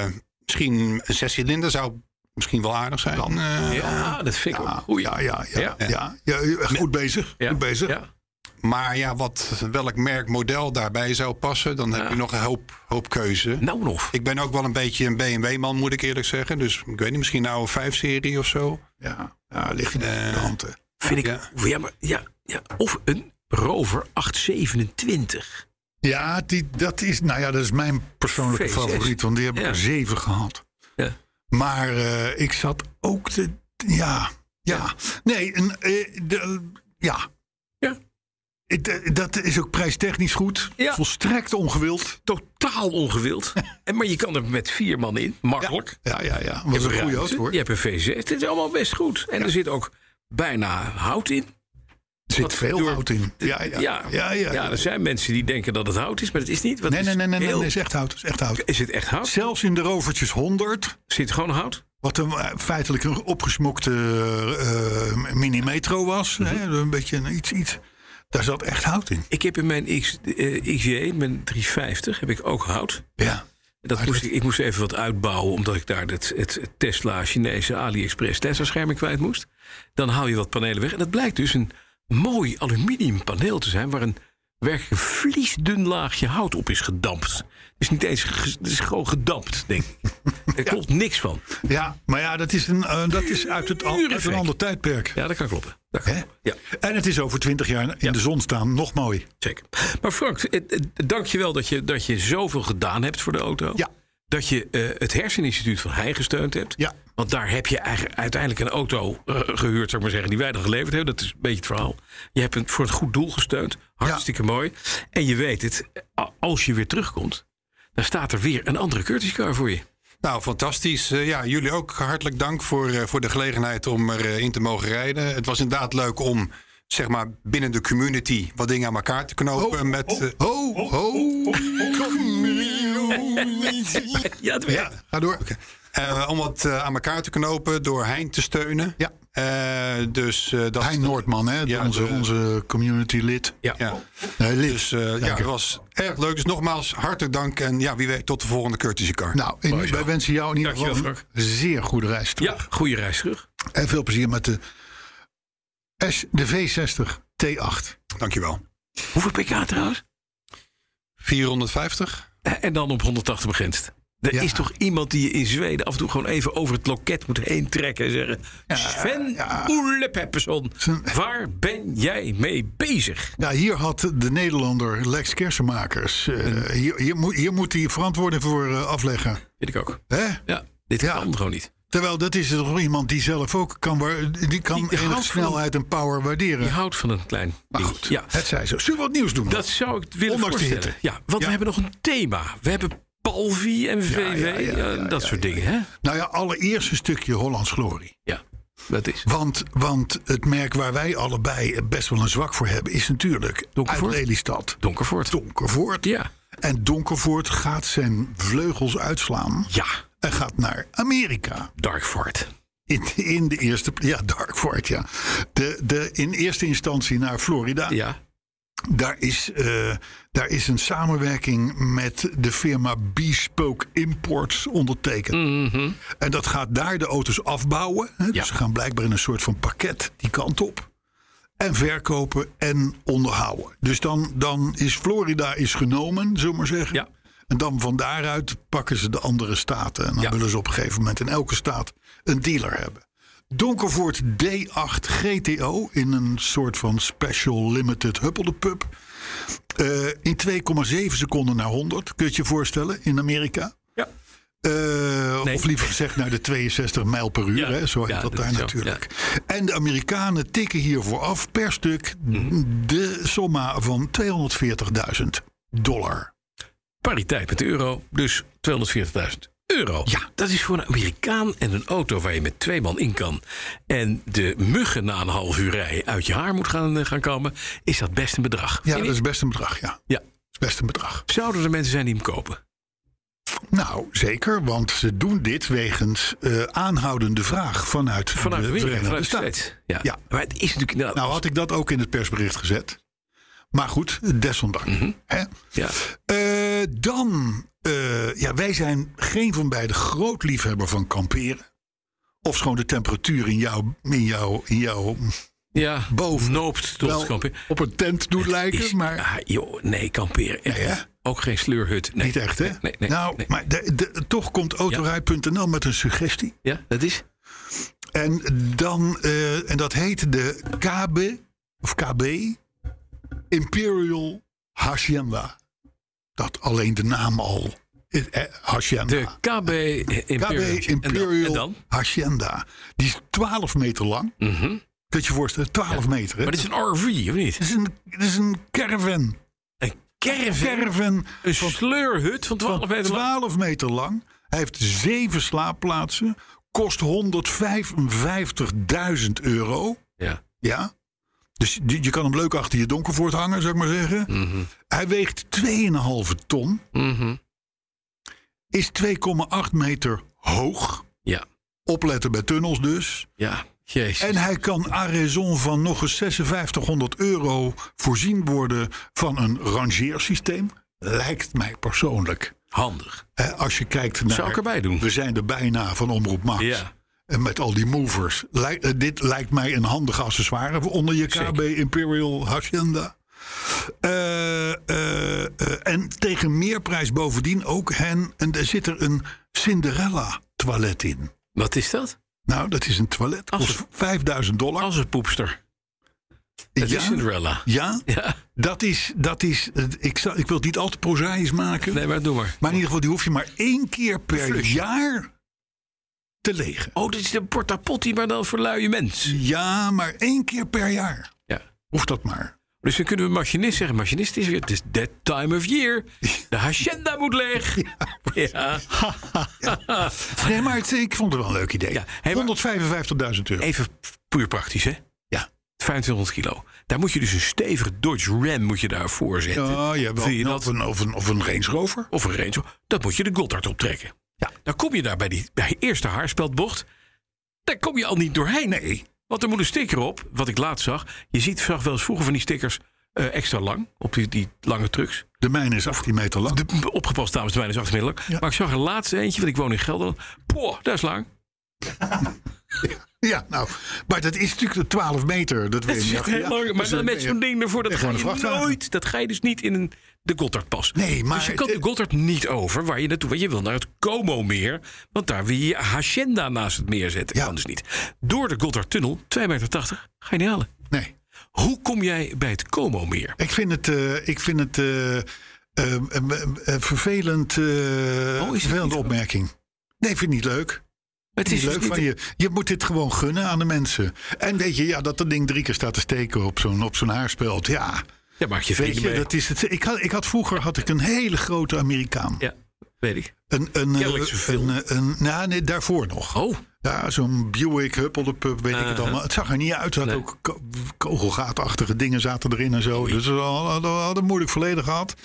Eh, misschien een zescilinder zou misschien wel aardig zijn. Eh,
Ja, dat vind ik ook. een
Ja,
goeie.
ja, ja, ja,
Ja.
ja. Ja, goed bezig,
Ja,
goed bezig.
ja.
Maar ja, wat, welk merk model daarbij zou passen, dan heb je nog een hoop, hoop keuze.
Nou nog.
Ik ben ook wel een beetje een BMW-man, moet ik eerlijk zeggen. Dus ik weet niet, misschien een oude 5-serie of zo. Eh,
Ja, ja ligt in de hand. hè.
Vind ik.
Ja.
Ja. maar, ja, ja. Of een Rover 827.
Ja, die, dat, is, nou ja, dat is mijn persoonlijke
VVS.
favoriet, want die heb ik
Ja.
er zeven gehad.
Ja.
Maar eh, ik zat ook te. Ja, ja. Nee, een, eh, de, ja.
Ja.
Het, eh, Dat is ook prijstechnisch goed.
Ja.
Volstrekt ongewild.
Totaal ongewild. en, maar je kan er met vier man in, makkelijk.
Ja, ja, ja. Was een goede auto hoor.
Je hebt een V6. Het is allemaal best goed. En er zit ook bijna hout in.
Er zit
Wat
veel
door-
hout in. Ja, ja. ja, ja,
er zijn mensen die denken dat het hout is, maar het is niet. want
Nee,
het
nee,
is
nee, nee, nee,
heel-
nee, is echt hout. Is echt hout.
Is het echt hout?
Zelfs in de Rovertjes 100,
Zit gewoon hout?
wat een, eh, feitelijk een opgesmokte eh, eh, mini-metro was, hè,
Mhm.
een beetje een iets, iets, daar zat echt hout in.
Ik heb in mijn X, eh, XJ, mijn 350, heb ik ook hout.
Ja.
Dat
Hout.
moest ik, ik moest even wat uitbouwen, omdat ik daar het, het Tesla Chinese AliExpress Tesla scherm kwijt moest. Dan haal je wat panelen weg. En dat blijkt dus een mooi aluminium paneel te zijn, waar een werkelijk vliesdun laagje hout op is gedampt. Het is niet eens, ge- het is gewoon gedampt, denk ik. Er klopt niks van.
ja, maar ja, dat is, een, eh, dat is uit, het, al- uit een
Murenfek.
ander tijdperk.
Ja, dat kan kloppen. Dat kan
Hè?
kloppen. Ja.
En het is over twintig jaar in de zon staan nog mooi.
Zeker. Maar Frank, eh, eh, dank je wel dat je, dat je zoveel gedaan hebt voor de auto.
Ja.
Dat je eh, het herseninstituut van Heijn gesteund hebt.
Ja.
Want daar heb je eigenlijk uiteindelijk een auto eh, gehuurd, zou ik maar zeggen, die wij dan geleverd hebben. Dat is een beetje het verhaal. Je hebt het voor een goed doel gesteund. Hartstikke mooi. En je weet het, eh, als je weer terugkomt, dan staat er weer een andere Curtis car voor je.
Nou, fantastisch. Eh, ja, jullie ook hartelijk dank voor, eh, voor de gelegenheid om erin in te mogen rijden. Het was inderdaad leuk om zeg maar, binnen de community wat dingen aan elkaar te knopen. met, eh,
Ho, ho,
Ja, dat
Ja, ga door.
eh, om wat eh, aan elkaar te knopen door Hein te steunen.
Ja.
Eh, dus eh, dat
Hein Noordman, hè,
Ja,
onze,
de-
onze community lid.
ja.
Ja.
Nee, lid.
Dus eh, ja, het was erg leuk. Dus nogmaals, hartelijk dank. En ja, wie weet, tot de volgende Curtis Car.
Nou, in- wij wensen jou in ieder
Dankjewel,
geval een zeer goede reis terug.
ja goede reis terug.
En veel plezier met de, S, de V60 T8.
Dankjewel.
Hoeveel pk trouwens?
450?
En dan op 180 begrensd. Er
Ja.
is toch iemand die je in Zweden af en toe gewoon even over het loket moet heen trekken en zeggen: Sven Oele Pepperson, waar ben jij mee bezig?
Ja, hier had de Nederlander Lex Kersenmakers. eh, hier, hier, moet, hier moet hij verantwoording voor eh, afleggen.
Weet ik ook.
Hè?
Ja, dit
Ja.
kan gewoon niet.
Terwijl dat is toch iemand die zelf ook kan, waar- die kan
Die-
enige
die houdt van-
snelheid en power waarderen.
Je houdt van een klein
maar
dingetje.
goed,
Ja,
het zij zo. Zullen we wat nieuws doen?
dat zou ik willen
Ondanks de
voorstellen. Ja, want we hebben nog een thema. We hebben Palvi en VW
ja, ja,
eh,
ja,
dat
ja,
soort dingen, hè?
Nou ja, allereerst een stukje Hollands glorie.
Ja, dat is.
Want, want het merk waar wij allebei best wel een zwak voor hebben... is natuurlijk uit
Donkervoort?
Lelystad.
Donkervoort.
Donkervoort.
Ja.
En Donkervoort gaat zijn vleugels uitslaan.
Ja,
En gaat naar Amerika.
Darkfort.
In, in de eerste... Ja, Darkfort, ja. De, de, in eerste instantie naar Florida.
Ja.
Daar, is, eh, daar is een samenwerking met de firma Bespoke Imports ondertekend. En dat gaat daar de auto's afbouwen. Hè? Dus
Ja.
ze gaan blijkbaar in een soort van pakket die kant op. En verkopen en onderhouden. Dus dan, dan is Florida is genomen, zullen we maar zeggen.
Ja.
En dan van daaruit pakken ze de andere staten. En dan
Ja.
willen ze op een gegeven moment in elke staat een dealer hebben. Donkervoort D8 GTO in een soort van special limited huppeldepup. Eh in 2,7 seconden naar 100, kun je het je voorstellen, in Amerika.
Ja.
Eh,
Nee.
Of liever gezegd naar de 62 mijl per uur,
Ja.
hè? zo heet
Ja,
dat
dat
daar
is zo,
natuurlijk. En de Amerikanen tikken hiervoor af per stuk
Mhm.
de somma van 240.000 dollar.
pariteit met de euro, dus 240.000 euro. Ja, dat is voor een Amerikaan en een auto waar je met twee man in kan... en de muggen na een half uur rijden uit je haar moet gaan, eh, gaan komen... is dat best een bedrag.
Ja, dus-
En-
dat is best een bedrag, ja.
ja.
Dat is best een bedrag.
Zouden er mensen zijn die hem kopen?
Nou, zeker, want ze doen dit wegens eh, aanhoudende vraag vanuit,
Vanuit
de
Amerika,
Verenigde
vanuit de
Staten.
States. Ja.
Ja.
Maar het is natuurlijk inderdaad...
Nou had ik dat ook in het persbericht gezet. Maar goed, desondanks.
Mhm.
hè?
ja.
Eh, dan, eh, ja, wij zijn geen van beiden groot liefhebber van kamperen. Of schoon de temperatuur in jouw, in jouw, in jouw
ja,
boven-
Noopt tot
wel
kamperen.
op een tent doet
Is-
lijken. Maar
ah, joh, nee, kamperen. echt.
Nee, hè?
Ook geen sleurhut. Nee.
niet echt, hè?
Nee, nee, nee,
nou,
nee.
maar de- de- toch komt autorij.nl met een suggestie.
Ja, dat
Ah.
is?
En, dan, eh, en dat heet de KB, of KB Imperial Hacienda. Dat alleen de naam al eh, Hacienda.
De KB
KB
Imperial. En dan? En
Imperial
dan?
Hacienda. Die is 12 meter lang. Kun je je voorstellen, 12 meter. Hè?
Mhm. Maar dit is een RV, of niet?
Het is een, het is een caravan.
Een caravan.
Caravan
Een sleurhut van 12 meter lang.
12 meter lang. Hij heeft zeven slaapplaatsen. Kost 155.000 euro.
Ja.
Ja. Dus je, je kan hem leuk achter je donkervoort hangen, zou ik maar zeggen. Hij weegt 2,5 ton.
Mhm.
Is 2,8 meter hoog.
Ja.
Opletten bij tunnels dus.
Ja. Jezus.
En hij kan Arezon van nog eens 5600 euro voorzien worden van een rangeersysteem. Lijkt mij persoonlijk.
Handig.
Hè, als je kijkt naar.
Zou ik erbij doen?
We zijn er bijna van Omroep Max.
Ja.
En met al die movers. Lijk- eh, dit lijkt mij een handige accessoire voor onder je KB
Zeker.
Imperial Hacienda. Eh, eh, eh, en tegen meerprijs bovendien ook hen. En er zit er een Cinderella toilet in.
Wat is dat?
Nou, dat is een toilet.
Als
Kost
het-
5000 dollar.
Als een poepster. Het
ja,
is Cinderella.
ja,
Ja.
dat is. Dat is eh, ik, zal- ik wil het niet al te prozaïs maken.
Nee, maar doe maar.
Maar in ieder geval, die hoef je maar één keer per jaar te legen.
Oh, dit is de porta potty, maar dan voor luie mens.
Ja, maar één keer per jaar.
Ja.
Hoeft dat maar.
Dus dan kunnen we machinist zeggen. Machinist is weer, het is that time of year. De hacienda moet leeg. Ja.
Nee, maar het- ik vond het wel een leuk idee.
Ja, hey, maar-
155.000 euro.
Even puur praktisch, hè?
Ja.
2500 kilo. Daar moet je dus een stevige Dodge Ram moet je daarvoor zetten.
Ja, ja, Oh, wel.
Vind je
Of,
dat?
een, of, een, of een Range Rover.
Of een Range Rover. Dat moet je de Goddard optrekken. Ja. Dan kom je daar bij die bij die eerste haarspeldbocht. Daar kom je al niet doorheen. Nee. Want er moet een sticker op, wat ik laatst zag. Je ziet, zag wel eens vroeger van die stickers eh, extra lang. Op die, die lange trucks.
De mijne is 18 meter lang.
De- opgepast, dames en heren, is achtermiddelijk. Maar ik zag een laatste eentje, want ik woon in Gelderland. Poh, dat is lang.
Ja, nou, maar dat is natuurlijk de 12 meter. Dat
Dat
weet
is
je.
echt heel
Ja,
lang. Maar
dus
dan
dan
met
ben je-
zo'n ding ervoor, dat
echt
ga
gewoon een
je
vrachtwagen.
nooit. Dat ga je dus niet in een, de Goddard pas.
Nee, maar
dus je kan
het-
de Goddard niet over waar je naartoe... want je wil naar het Como-meer... want daar wil je je hacienda naast het meer zetten.
Ja.
Kan dus niet. Door de Goddard-tunnel, 2,80 meter, ga je niet halen.
Nee,
Hoe kom jij bij het Como-meer?
ik vind het, eh, ik vind het eh, eh, eh, eh, vervelend.
Oh,
eh, vervelende opmerking. Nee, ik vind het niet leuk.
Het
Het is leuk
dus
van
niet-
je. Je moet dit gewoon gunnen aan de mensen. En weet je, ja, dat dat ding drie keer staat te steken op zo'n op zo'n haarspeld. Ja,
Ja, maak je
weet
vrienden
je,
mee.
dat is het. Ik had, ik had vroeger had ik een hele grote Amerikaan.
Ja, weet ik.
Een, een, eh,
Kennelijk zoveel.
een, eh, een, nou, nee, daarvoor nog.
Oh,
Ja, zo'n Buick, Huppeldepup, weet ik het allemaal. Het zag er niet uit. Het had
Eh, Nee.
ook ko- kogelgaatachtige dingen zaten erin en zo. Dus we hadden, we hadden moeilijk verleden gehad.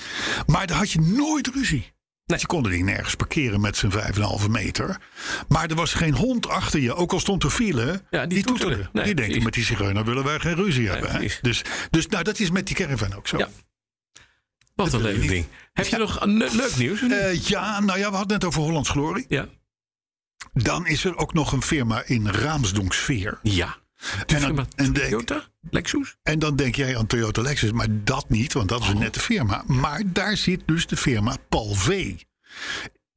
Maar daar had je nooit ruzie. Je kon er niet nergens parkeren met zijn 5,5 meter. Maar er was geen hond achter je. Ook al stond er file,
Ja, die toeterde. Nee,
die denken,
precies.
met die zigeuner willen wij geen ruzie hebben. hè?
precies.
Dus, dus nou, dat is met die caravan ook zo.
Ja. wat een leuk
niet.
ding. Heb je nog een le- leuk nieuws? of niet?
Eh, ja, nou ja, we hadden het net over Hollands Glorie.
ja.
Dan is er ook nog een firma in Raamsdonksfeer.
Ja.
En
Firma
dan, en, denk,
Toyota? Lexus?
en dan denk jij aan Toyota Lexus, maar dat niet, want dat is
Oh.
een nette firma. Maar daar zit dus de firma Paul V.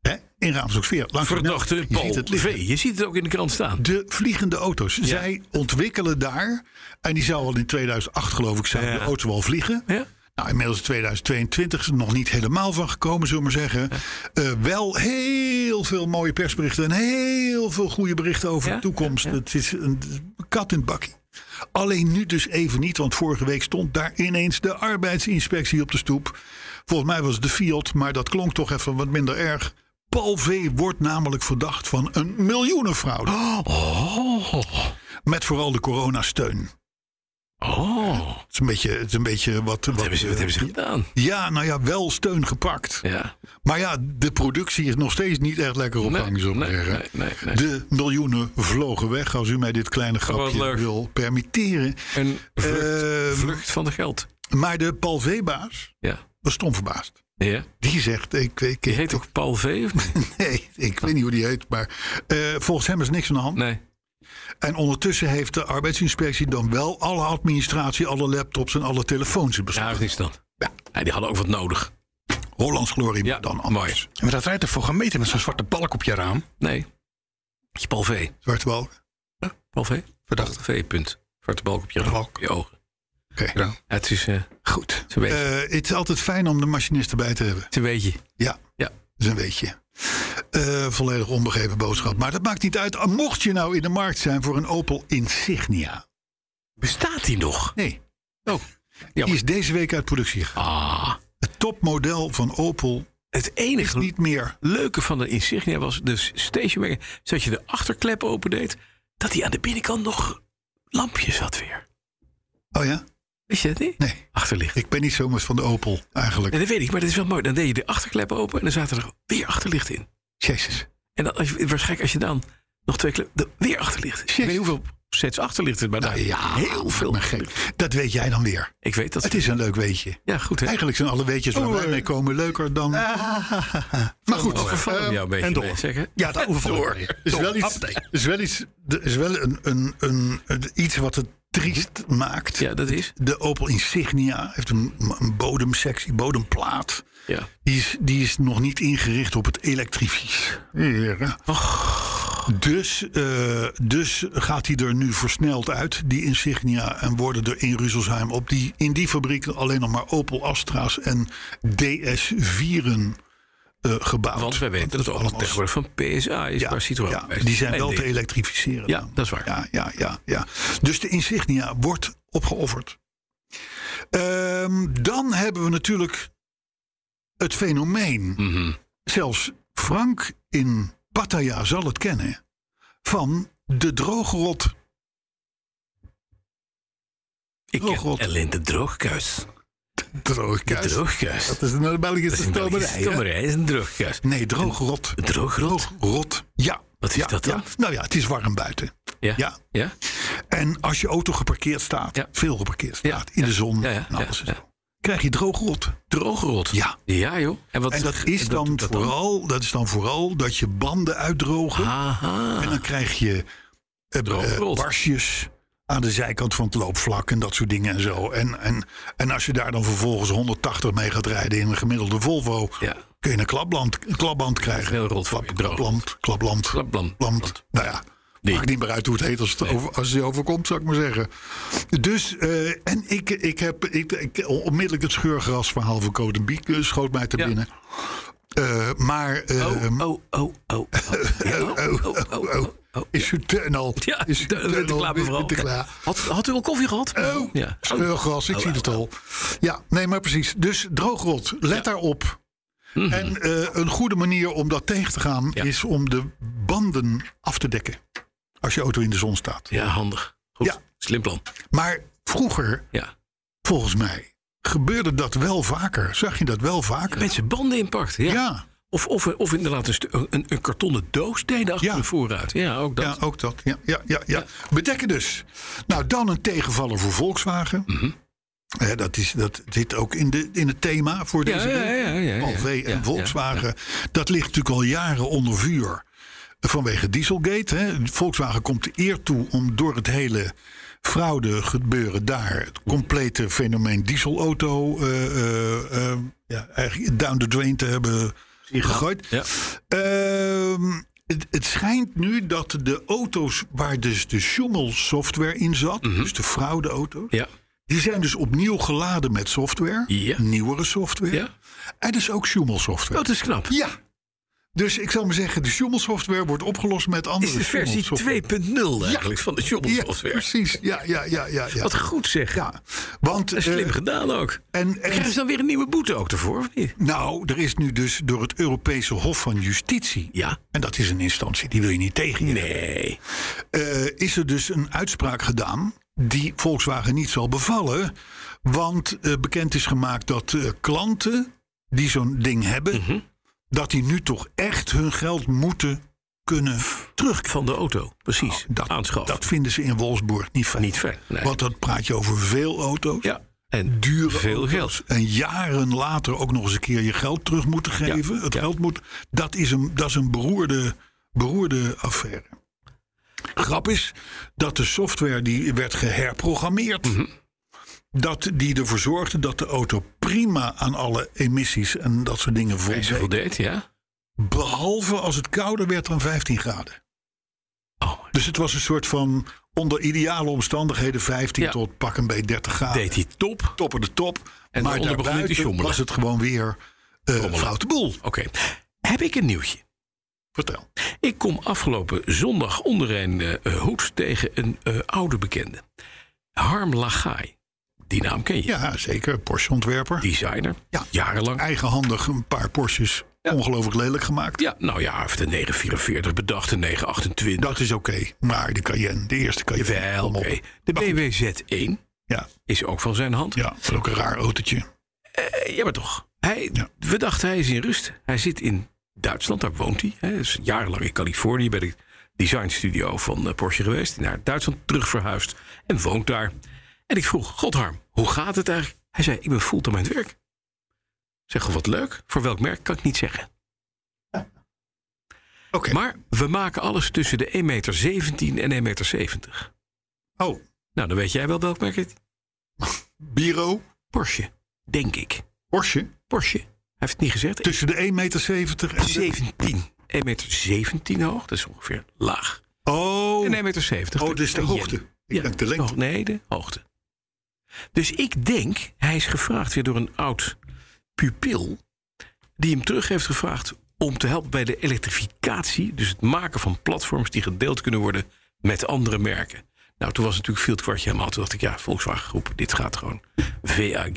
Hè? In Raamsdonksfeer. Langs de
Verdachte
snelweg. Je
Paul
ziet het liggen.
V. Je ziet het ook in de krant staan.
De vliegende auto's. Zij ontwikkelen daar. En die zou al in 2008, geloof ik, zou
Ja.
de auto al vliegen.
Ja?
Nou, inmiddels is 2022 is er nog niet helemaal van gekomen, zullen we maar zeggen. Eh, wel heel veel mooie persberichten en heel veel goede berichten over
Ja,
de toekomst. Het is een kat in het bakkie. Alleen nu dus even niet, want vorige week stond daar ineens de arbeidsinspectie op de stoep. Volgens mij was het de Fiat, maar dat klonk toch even wat minder erg. Paul V. wordt namelijk verdacht van een miljoenenfraude.
Oh.
Met vooral de coronasteun. Het
Oh, wat
is een beetje, het is een beetje wat... Wat,
hebben ze, wat hebben ze gedaan?
Ja, nou ja, wel steun gepakt.
Ja.
Maar ja, de productie is nog steeds niet echt lekker op
Nee,
gang, zullen we
nee,
zeggen.
nee, nee, nee.
De miljoenen vlogen weg, als u mij dit kleine grapje
leuk.
wil permitteren.
Een vlucht,
Eh,
vlucht van de geld.
Maar de Paul V-baas
Ja.
was stom verbaasd.
ja.
Die zegt, ik, ik,
Die
ik,
heet toch Paul V? Of niet?
nee, ik weet niet hoe die heet, maar eh, volgens hem is niks aan de hand.
Nee.
En ondertussen heeft de arbeidsinspectie dan wel alle administratie, alle laptops en alle telefoons in beslag.
Ja, dat is niks dan. Ja. die hadden ook wat nodig.
Hollands glorie
Ja,
maar dan anders.
mooi.
Maar dat rijdt ervoor gemeten met zo'n zwarte balk op je raam.
Nee. Je Paul V.
Zwarte balk.
Paul V? Verdachte V, punt. Zwarte balk op je, op je ogen.
Oké.
Ja, het is eh,
Goed.
het is een beetje.
Eh, het is altijd fijn om de machinisten bij te hebben.
het is een beetje.
Ja.
Ja.
is een weetje. Eh, volledig onbegrepen boodschap. Maar dat maakt niet uit. Mocht je nou in de markt zijn voor een Opel Insignia.
Bestaat die nog?
Nee,
Oh,
die
jammer.
is deze week uit productie gegaan.
Ah,
Het topmodel van Opel
het enige
niet meer.
leuke van de Insignia was de station wagon. is Dat je de achterklep opendeed, dat hij aan de binnenkant nog lampjes had weer.
Oh ja?
Weet je dat niet?
Nee.
Achterlicht.
Ik ben niet zomaar van de Opel eigenlijk.
Nee, dat weet ik, maar dat is wel mooi. Dan deed je de achterklep open en dan zaten er weer achterlicht in.
Jezus.
En dan, als je, waarschijnlijk als je dan nog twee klep, dan weer achterlicht. Ik weet niet hoeveel sets achterlicht het, maar daar
Nou ja,
heel veel.
Maar gek. Dat weet jij dan weer.
Ik weet dat.
Het is een leuk weetje.
ja, goed hè.
Eigenlijk zijn alle weetjes waar wij mee komen leuker dan.
Ah.
Maar goed,
Overvallen
ehm,
jou nou een beetje
en door.
mee, zeg, hè?
ja, dat
Door.
Is wel iets,
Appetijt.
is wel iets, er is wel een, een, een, een- iets wat het triest maakt.
Ja, dat is.
De Opel Insignia heeft een, een bodemsectie, bodemplaat.
Ja.
Die is, die is nog niet ingericht op het elektrificeren. Dus, eh, dus gaat hij er nu versneld uit, die Insignia. En worden er in Rüsselsheim op die, in die fabriek alleen nog maar Opel Astra's en DS4'en eh, gebouwd.
Want wij weten dat het allemaal tegenwoordig van PSA is, waar Citroën
ja,
bij is.
die zijn
En
wel
dit.
te elektrificeren.
Ja,
dan.
dat is waar.
Ja, ja, ja, ja. Dus de Insignia wordt opgeofferd. Ehm, dan hebben we natuurlijk het fenomeen.
Mhm.
Zelfs Frank in Pattaya zal het kennen. Van de droogrot.
Ik ken
Oh, God.
alleen de droogkuis. De
Droogkuis.
droogkuis.
Dat is een Belgische
Dat is een
stomerij.
Belgische
hè?
stomerij, is een droogkuis.
Nee, droogrot.
Een Droogrot?
Rot. Ja.
Wat is
ja,
dat dan?
ja. Nou ja, het is warm buiten.
Ja.
Ja.
Ja?
En als je auto geparkeerd staat,
Ja.
veel geparkeerd
Ja,
staat, in
ja,
de zon
ja, ja,
en alles.
ja,
en
ja.
zo, Krijg je droogrot.
Droogrot?
Ja.
Ja, joh. wat
En dat is, dan
dat
vooral, dat is dan vooral dat je banden uitdrogen. En
Aha.
dan krijg je eh,
Droogrot.
eh, barsjes aan de zijkant van het loopvlak en dat soort dingen en zo. En, en, en als je daar dan vervolgens 180 mee gaat rijden in een gemiddelde Volvo,
Ja.
kun je een klapband, een klapband krijgen.
heel rot voor je, droogrot.
klapband, klapband,
Klapband, klapband.
Nou ja,
Nee.
maakt niet meer uit hoe het heet als het, over, als het je overkomt, zou ik maar zeggen. Dus, eh, en ik, ik heb ik, ik- onmiddellijk het scheurgrasverhaal van Codenbiek eh, schoot mij te
Ja.
binnen. Eh, maar eh,
Oh, oh, oh, oh, oh. Ja, oh, oh, oh, oh, oh, oh.
is uw tunnel.
Ja,
is uw
de Oh.
tunnel
winterklaar
weer
mevrouw.
winterklaar?
Had, had u al koffie gehad?
Oh,
Ja.
scheurgras,
Oh,
ik zie het al. Ja, nee, maar precies. Dus droogrot, let daarop. En eh, een goede manier om dat tegen te gaan
Mhm. Ja.
is om de banden af te dekken. Als je auto in de zon staat.
Ja, handig. Goed.
Ja.
Slim plan.
Maar vroeger,
Ja.
volgens mij, gebeurde dat wel vaker. Zag je dat wel vaker?
Mensen banden inpakt. Ja.
Ja.
Of, of, of inderdaad een, stu- een, een kartonnen doos deden achter
Ja.
de voorruit. Ja, ook dat.
Ja, ook dat. Ja, ja, ja, ja. Bedekken dus. Nou, dan een tegenvaller voor Volkswagen.
Mhm.
Hè, dat, is, dat zit ook in, de, in het thema voor
Ja,
deze
ja, ja, ja, ja, ja.
Malvé en
Ja, ja,
Volkswagen. Dat ligt natuurlijk al jaren onder vuur. Vanwege Dieselgate. Hè. Volkswagen komt de eer toe om door het hele fraude gebeuren daar... het complete fenomeen dieselauto... eh, eh, eh, ja, eigenlijk down the drain te hebben gegooid.
Ja.
Ehm, het, het schijnt nu dat de auto's waar dus de Schummel software in zat, dus de fraudeauto's,
Mhm. Ja.
die zijn dus opnieuw geladen met software,
Ja.
nieuwere software.
Ja. Oh,
En dus ook Schummel software.
Dat is knap.
Ja. Dus ik zal maar zeggen, de Schummel software wordt opgelost met
Dit
andere
is de versie 2.0
Schummel-software.
eigenlijk van de Jobble
Ja,
software.
precies. Ja, ja, ja, ja. ja.
Wat goed zeg.
ja. Want,
En Slim
eh,
gedaan ook.
en, en
Krijgen ze dan weer een nieuwe boete ook ervoor, of niet?
nou, er is nu dus door het Europese Hof van Justitie.
Ja.
En dat is een instantie, die wil je niet tegen je
Nee.
eh, is er dus een uitspraak gedaan die Volkswagen niet zal bevallen. Want eh, bekend is gemaakt dat eh, klanten die zo'n ding hebben,
Mhm.
dat die nu toch echt hun geld moeten kunnen terugkrijgen.
Van de auto, precies.
Oh, Dat,
Aanschaf.
dat vinden ze in Wolfsburg niet fijn.
Niet fijn, nee.
Want dan praat je over veel auto's.
Ja. En
Dure
veel
auto's.
geld.
En jaren later ook nog eens een keer je geld terug moeten geven. het
ja.
geld moet. Dat is een, dat is een beroerde, beroerde affaire. Grap is dat de software die werd geherprogrammeerd.
Mhm.
Dat die ervoor zorgde dat de auto prima aan alle emissies en dat soort dingen
Ze
voldeed.
voldeed, ja.
Behalve als het kouder werd dan 15 graden.
Oh,
Dus het was een soort van onder ideale omstandigheden 15
Ja.
tot pak een beetje 30 graden.
deed hij top.
Topper de top.
En daaronder
maar
begon hij te
daarbuiten
sjoemelen.
was het gewoon weer eh foute boel.
Oké. heb ik een nieuwtje.
Vertel.
Ik kom afgelopen zondag onder een eh, hoed tegen een eh, oude bekende. Harm Lagai. Die naam ken je.
Ja, zeker. Porsche-ontwerper.
Designer.
Ja.
Jarenlang.
Eigenhandig een paar Porsches ongelooflijk lelijk gemaakt.
Ja, nou ja, hij heeft de 944 bedacht, de 928.
Dat is oké. Maar de Cayenne, de eerste Cayenne.
Wel,
kom
oké.
op.
De
Maar goed,
BWZ1
Ja,
is ook van zijn hand.
ja, dat is ook een raar autootje.
Eh, ja, maar toch. Hij,
Ja.
We dachten, hij is in rust. Hij zit in Duitsland, daar woont hij. Hij is jarenlang in Californië bij de designstudio van eh, Porsche geweest. Naar Duitsland terugverhuisd en woont daar. En ik vroeg, Godharm, hoe gaat het eigenlijk? Hij zei, ik ben fulltime aan het werk. Ik Zeg, "Oh, wat leuk. Voor welk merk kan ik niet zeggen.
Oké.
Maar we maken alles tussen de 1,17 meter en 1,70 meter.
Oh,
Nou, dan weet jij wel welk merk het
Biro,
Porsche, denk ik.
Porsche.
Porsche. Hij heeft het niet gezegd.
Tussen de 1,70 meter en... de-
17. 1,17 meter hoog, dat is ongeveer laag.
Oh,
En 1,70 meter. 70.
oh, dat is de hoogte. Ik
Ja,
dacht de lengte.
hoog- Nee, de hoogte. Dus ik denk, hij is gevraagd weer door een oud pupil... die hem terug heeft gevraagd om te helpen bij de elektrificatie... dus het maken van platforms die gedeeld kunnen worden met andere merken. Nou, toen was natuurlijk veel het kwartje helemaal. Toen dacht ik, ja, Volkswagen Groep, dit gaat gewoon. VAG.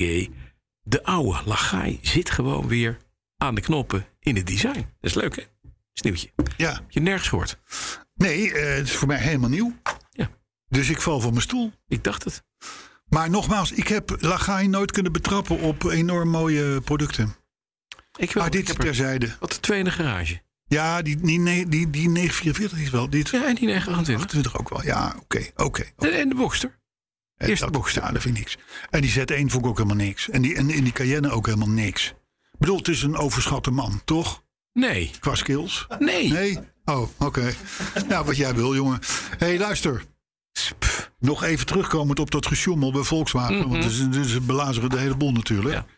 De oude Lagai zit gewoon weer aan de knoppen in het design. Dat is leuk, hè? Sneeuwtje.
Ja.
Heb je nergens gehoord?
Nee, eh, het is voor mij helemaal nieuw.
Ja.
Dus ik val van mijn stoel.
Ik dacht het.
Maar nogmaals, ik heb Lagai nooit kunnen betrappen op enorm mooie producten.
Ik wil
Maar
ik
Ah, dit
heb er-
terzijde.
Wat de twee in de garage.
Ja, die, die, ne- die, die 944 is wel. Dit
Ja, en die 928.
28 ook wel. Ja, oké. oké. oké.
En, en de Boxster.
Eh,
eerste
dat- Ja, dat vind ik niks. En die Z1 vond ik ook helemaal niks. En die, en, en die Cayenne ook helemaal niks. Ik bedoel, het is een overschatte man, toch?
Nee.
Qua skills.
Nee.
Nee? Oh, oké. Nou, wat jij wil, jongen. Hé, hey, luister.
Pff,
Nog even terugkomend op dat gesjoemel bij Volkswagen. Want het is- het is- ze belazeren de hele boel natuurlijk.
Mhm. Ja.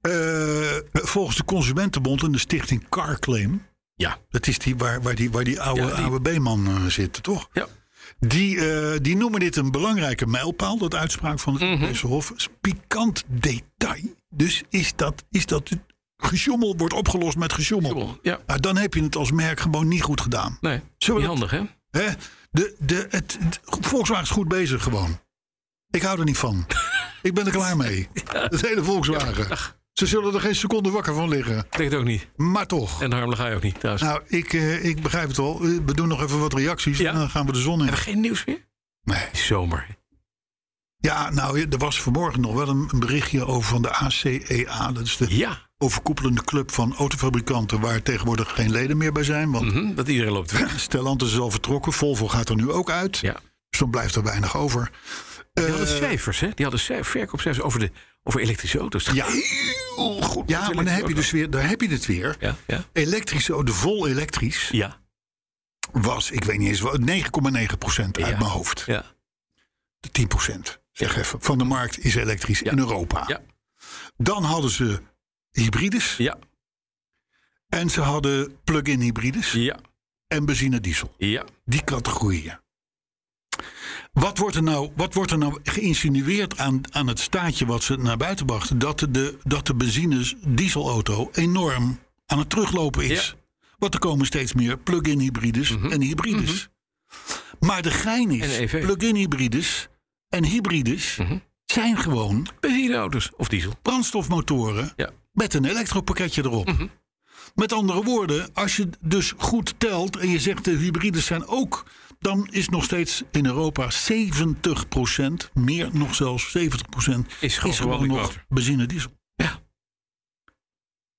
Eh, volgens de Consumentenbond en de stichting Carclaim...
Ja.
dat is die waar, waar die, waar die oude
Ja, die-
AWB-man eh, zit, toch?
Ja.
Die, eh, die noemen dit een belangrijke mijlpaal, dat uitspraak van
Mhm.
het Europese Hof. Het is een pikant detail. Dus is dat, is dat het gesjoemel wordt opgelost met gesjoemel.
Ja.
Nou, dan heb je het als merk gewoon niet goed gedaan.
Nee.
Zullen
Niet
we
handig, hè?
Hè? De, de, het, het- Volkswagen is goed bezig gewoon. Ik hou er niet van. Ik ben er klaar mee. Het hele Volkswagen. Ze zullen er geen seconde wakker van liggen.
Ik denk het ook niet.
Maar toch.
En Harm ga je ook niet thuis.
Nou, ik, eh, ik begrijp het al. Eh, We doen nog even wat reacties
Ja.
en dan gaan we de zon in.
Hebben we geen nieuws meer?
Nee.
Zomer.
Ja, nou, er was vanmorgen nog wel een een berichtje over van de ACEA. Dat is de
Ja.
overkoepelende club van autofabrikanten... waar tegenwoordig geen leden meer bij zijn. Want
Mhm, Dat iedereen loopt weg.
Stellantis is al vertrokken. Volvo gaat er nu ook uit.
Ja.
Dus dan blijft er weinig over. Eh,
Die hadden cijfers, hè? Die hadden cijf- verkoopcijfers over, de, over elektrische auto's. Het
Ja.
gaat heel goed.
Ja,
met
maar dan heb je
elektrische
dus weer, daar heb je het weer.
auto's. Ja, ja.
Elektrisch, oh, de vol elektrisch
Ja.
was, ik weet niet eens, wat, 9,9% uit
Ja.
mijn hoofd.
Ja.
De 10%, zeg even, van de markt is elektrisch in Europa.
Ja.
Dan hadden ze hybrides
Ja.
en ze hadden plug-in hybrides
Ja.
en benzine-diesel.
Ja.
Die categorieën. Wat wordt er nou, wat wordt er nou geïnsinueerd aan, aan het staatje wat ze naar buiten brachten? Dat de, dat de benzine-dieselauto enorm aan het teruglopen is. Want er komen steeds meer plug-in hybrides en hybrides. Maar de gein
En
is,
EV.
plug-in hybrides en hybrides zijn gewoon
Benzineauto's. Of diesel.
brandstofmotoren
Ja. Mhm.
met een elektropakketje erop. Met andere woorden, als je dus goed telt en je zegt de hybrides zijn ook, dan is nog steeds in Europa 70%, meer nog zelfs 70%,
Is gewoon verbranding
nog
water.
benzine diesel.
Ja.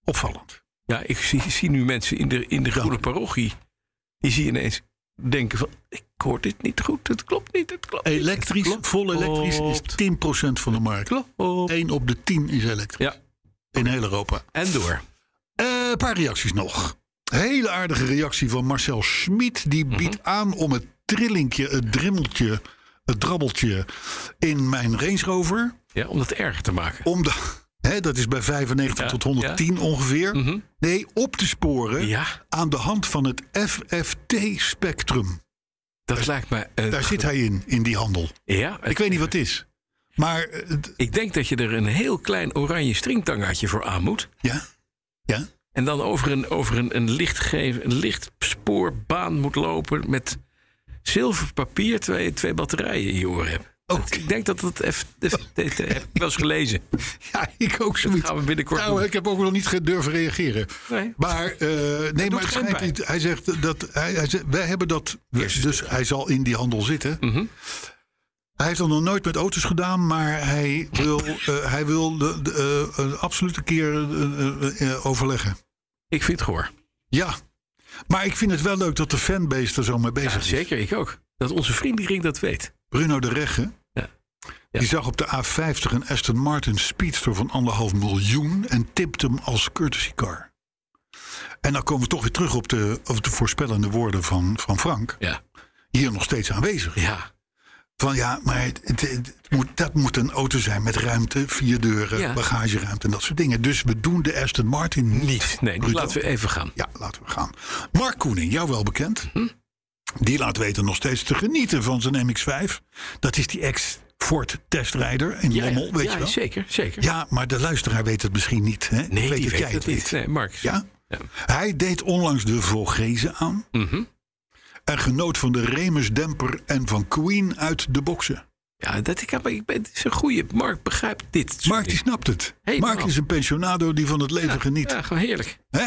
Opvallend.
Ja, ik zie, zie nu mensen in de, in de groene parochie. Die zie je ineens denken van... Ik hoor dit niet goed. Het klopt niet. Het klopt niet, het
Elektrisch,
klopt.
vol elektrisch is 10% van de markt.
Klopt.
1 op de 10 is elektrisch
Ja.
in heel Europa.
En door.
Eh, Een paar reacties nog. Hele aardige reactie van Marcel Schmid. Die
Mhm.
biedt aan om het trillinkje, het drimmeltje, het drabbeltje in mijn Range Rover.
Ja, om dat erger te maken.
Om de, hè, dat is bij 95
Ja, Mhm.
tot 110 ongeveer. Nee, op te sporen
Ja,
aan de hand van het FFT-spectrum.
dat lijkt me... een-
Daar zit hij in, in die handel.
ja,
Ik weet niet wat het is. Maar eh, het-
ik denk dat je er een heel klein oranje stringtangaatje voor aan moet.
ja, ja,
En dan over een, over een, een, lichtgeef, een lichtspoorbaan moet lopen met zilver papier twee, twee batterijen in je oren hebt. Dat-
Oké.
Ik denk dat dat FTT heb ik wel eens gelezen.
Ja, ik ook
Dat
zoiets.
gaan we binnenkort
Nou,
doen.
ik heb ook nog niet gedurven reageren.
Nee.
Maar, eh, nee, maar het
doet geen
schijnt
pijn.
niet. Hij zegt dat. Hij, hij zegt, wij hebben dat. Dus hij zal in die handel zitten.
Mhm.
Hij heeft dat nog nooit met auto's gedaan, maar hij wil, eh, hij wil de, de, eh, een absolute keer eh, eh, eh, overleggen.
Ik vind het gehoor.
Ja. Maar ik vind het wel leuk dat de fanbase er zo mee bezig
Ja,
is.
zeker, ik ook. Dat onze vriendenring dat weet.
Bruno de Regge.
Ja. Ja.
Die zag op de A50 een Aston Martin Speedster van anderhalf miljoen en tipte hem als courtesy car. En dan komen we toch weer terug op de, op de voorspellende woorden van, van Frank.
Ja.
Hier nog steeds aanwezig.
Ja.
Van ja, maar het, het- het moet, dat moet een auto zijn met ruimte, vier deuren,
Ja.
bagageruimte en dat soort dingen. Dus we doen de Aston Martin niet.
Nee, dus
Bruto.
laten we even gaan.
Ja, laten we gaan. Mark Koening, jou wel bekend.
Hm?
Die laat weten nog steeds te genieten van zijn MX-5. Dat is die ex-Ford testrijder in
Ja,
Lommel,
ja.
weet
Ja,
je wel.
zeker, zeker.
Ja, maar de luisteraar weet het misschien niet. Hè?
Nee,
weet
die
dat
weet
jij
het niet. Nee, Mark.
Ja? Hij deed onlangs de Volgezen aan.
Mhm.
En genoot van de Remus Demper en van Queen uit de boksen.
Ja, dat ik heb, ik ben, het is een goede. Mark begrijpt dit. soort
Mark die
dingen.
snapt het.
Helemaal.
Mark is een pensionado die van het leven geniet.
Ja, gewoon heerlijk.
Hè?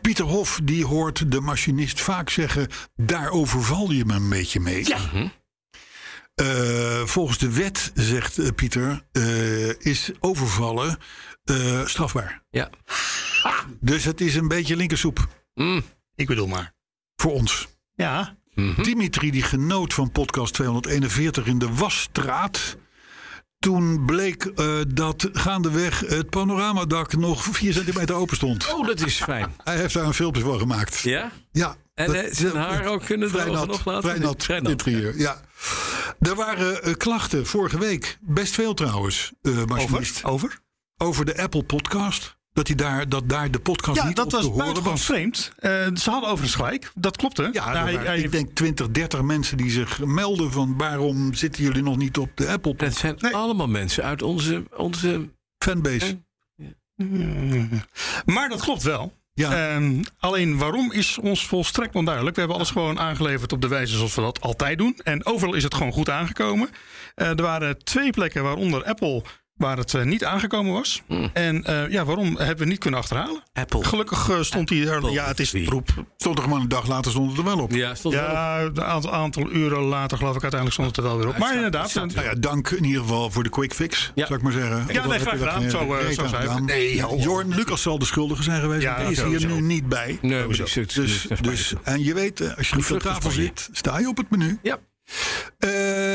Pieter Hof die hoort de machinist vaak zeggen... daar overval je me een beetje mee.
Mhm.
Eh, volgens de wet, zegt eh, Pieter, eh, is overvallen eh, strafbaar.
Ja.
Dus het is een beetje linkersoep
Mm.
Ik bedoel maar.
voor ons.
Ja.
Mhm.
Dimitri die genoot van podcast 241 in de Wasstraat. Toen bleek eh, dat gaandeweg het panoramadak nog 4 centimeter open stond.
Oh, dat is fijn.
Hij heeft daar een filmpje van gemaakt.
Ja?
Ja.
En,
dat-
eh, zijn haar ook kunnen
vrij
drogen
nat,
nog laten?
Vrij nat,
Vrij nat,
interieur, ja. Er waren eh, klachten vorige week. Best veel trouwens, eh machinist.
Over? Over?
over de Apple podcast. Dat, die daar, dat daar de podcast
Ja,
niet
dat
op te
was
horen
buitengewoon
was.
vreemd. Eh, ze hadden overigens gelijk. Dat klopte.
Ja,
Nou,
er
hij-
waren,
hij-
ik denk 20, 30 mensen die zich melden van... waarom zitten jullie nog niet op de Apple
Dat zijn
Nee.
allemaal mensen uit onze, onze
fanbase?
Maar dat klopt wel.
Ja,
Ehm, alleen waarom is ons volstrekt onduidelijk. We hebben alles gewoon aangeleverd op de wijze zoals we dat altijd doen. En overal is het gewoon goed aangekomen. Eh, er waren twee plekken waaronder Apple waar het eh, niet aangekomen was. En eh, ja, waarom hebben we niet kunnen achterhalen?
Hmm. Apple.
Gelukkig eh, stond hij er. Ja, het is
TV.
troep.
stond er gewoon een dag later stond het er wel op.
Ja, stond wel op.
Ja, een aantal, aantal uren later geloof ik uiteindelijk stond het er wel weer op. Maar inderdaad, eh,
staat
Nou ja, dank in ieder geval voor de quick fix,
Ja.
zou ik maar zeggen.
nee, graag gedaan. Zo, eh, zo zijn we.
Nee, Jorn Lucas zal de schuldige zijn geweest.
Ja,
want die is
sowieso.
hier nu niet bij.
Nee, maar die zit-
dus,
zit- zit-
dus, en je weet, eh, als je niet aan
vlucht is
tafel
van je.
zit, sta je op het menu.
ja.
Eh,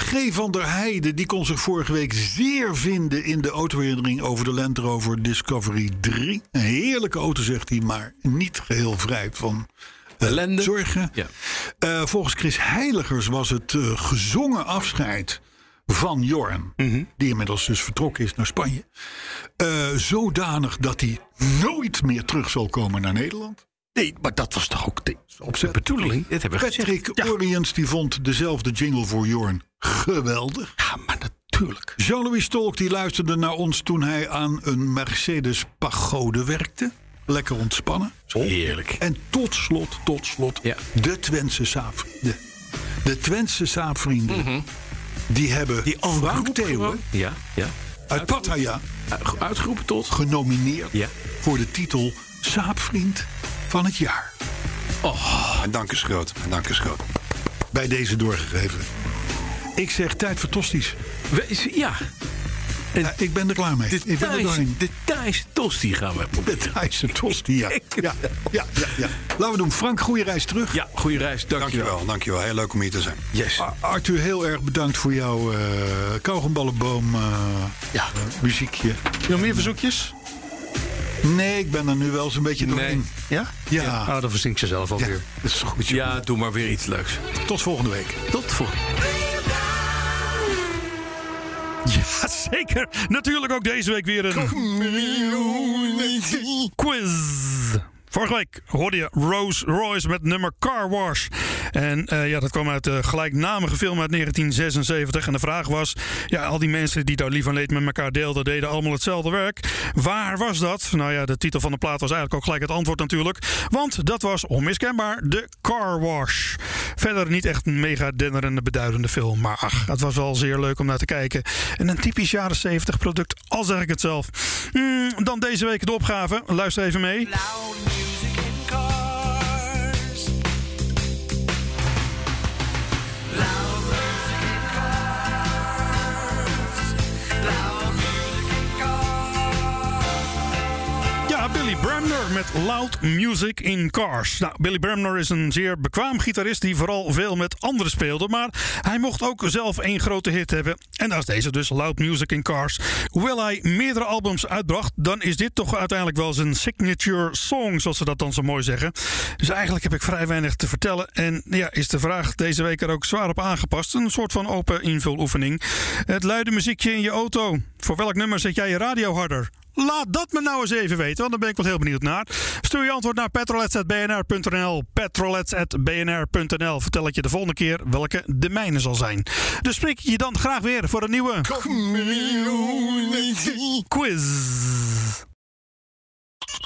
G. van der Heijden die kon zich vorige week zeer vinden in de autoherinnering over de Land Rover Discovery 3. Een heerlijke auto, zegt hij, maar niet geheel vrij van eh,
Ellende.
zorgen.
Ja.
Eh, volgens Chris Heiligers was het eh, gezongen afscheid van Jorn,
Mhm.
die inmiddels dus vertrokken is naar Spanje, eh, zodanig dat hij nooit meer terug zal komen naar Nederland.
nee, maar dat was toch ook de,
Opzet.
bedoeling?
Dit hebben we gezegd.
Patrick Oriens die vond dezelfde jingle voor Jorn geweldig.
Ja, maar natuurlijk.
Jean-Louis Stolk die luisterde naar ons toen hij aan een Mercedes pagode werkte. Lekker ontspannen.
Heerlijk.
En tot slot, tot slot,
Ja.
de Twentse saapvrienden. De Twentse saapvrienden. Die hebben
Mhm. Die
Frank Theeuwen
Ja, ja.
uit Pattaya
Uitge- Uitgeroepen tot.
genomineerd
Ja.
voor de titel Saapvriend van het jaar.
En Ah, dank is groot. En dank is groot.
Bij deze doorgegeven. Ik zeg tijd voor tosties.
We, is- ja,
Ja, ik ben er klaar mee.
de
ik ben er doorheen.
Thaise, de Thaise tosti gaan we proberen.
De Thaise tosti, ja.
Ik-
Ja, ja, ja, ja. Laten we doen. Frank, goede reis terug.
Ja, goede reis. Dankjewel. Nou,
Dankjewel, dankjewel. Heel leuk om hier te zijn.
Yes.
Ar- Ah, Arthur, heel erg bedankt voor jouw eh kauwgomballenboom eh,
Ja.
eh, muziekje.
Nog meer verzoekjes?
Nee, ik ben er nu wel eens een beetje doorheen.
Nee.
Ja?
Ja.
Oh, dan verzin ik ze zelf
Ja,
alweer.
dat is goed. joh.
Ja, doe maar weer iets leuks.
Tot volgende week.
Tot volgende
Jazeker. Natuurlijk ook deze week weer een quiz. Vorige week hoorde je Rolls Royce met nummer Car Wash. En eh, ja, dat kwam uit de gelijknamige film uit 1976. En de vraag was, ja, al die mensen die daar lief en leed met elkaar deelden, deden allemaal hetzelfde werk. Waar was dat? Nou ja, de titel van de plaat was eigenlijk ook gelijk het antwoord natuurlijk. Want dat was onmiskenbaar de Car Wash. Verder niet echt een mega dennerende, beduidende film. Maar ach, het was wel zeer leuk om naar te kijken. En een typisch jaren 70 product, al zeg ik het zelf. Hmm, dan deze week de opgave. Luister even mee.
Loud music and cars. Loud music and cars. Loud music and cars.
Ja, Billy Bremner met Loud Music in Cars. Nou, Billy Bremner is een zeer bekwaam gitarist die vooral veel met anderen speelde. Maar hij mocht ook zelf één grote hit hebben. En dat is deze dus, Loud Music in Cars. Hoewel hij meerdere albums uitbracht, dan is dit toch uiteindelijk wel zijn signature song, zoals ze dat dan zo mooi zeggen. Dus eigenlijk heb ik vrij weinig te vertellen. En ja, is de vraag deze week er ook zwaar op aangepast. Een soort van open invuloefening. Het luide muziekje in je auto. Voor welk nummer zet jij je radio harder? Laat dat me nou eens even weten, want daar ben ik wel heel benieuwd naar. Stuur je antwoord naar petrolets.bnr.nl. Petrolets.bnr.nl. Vertel ik je de volgende keer welke de mijne zal zijn. Dus spreek ik je dan graag weer voor een nieuwe quiz.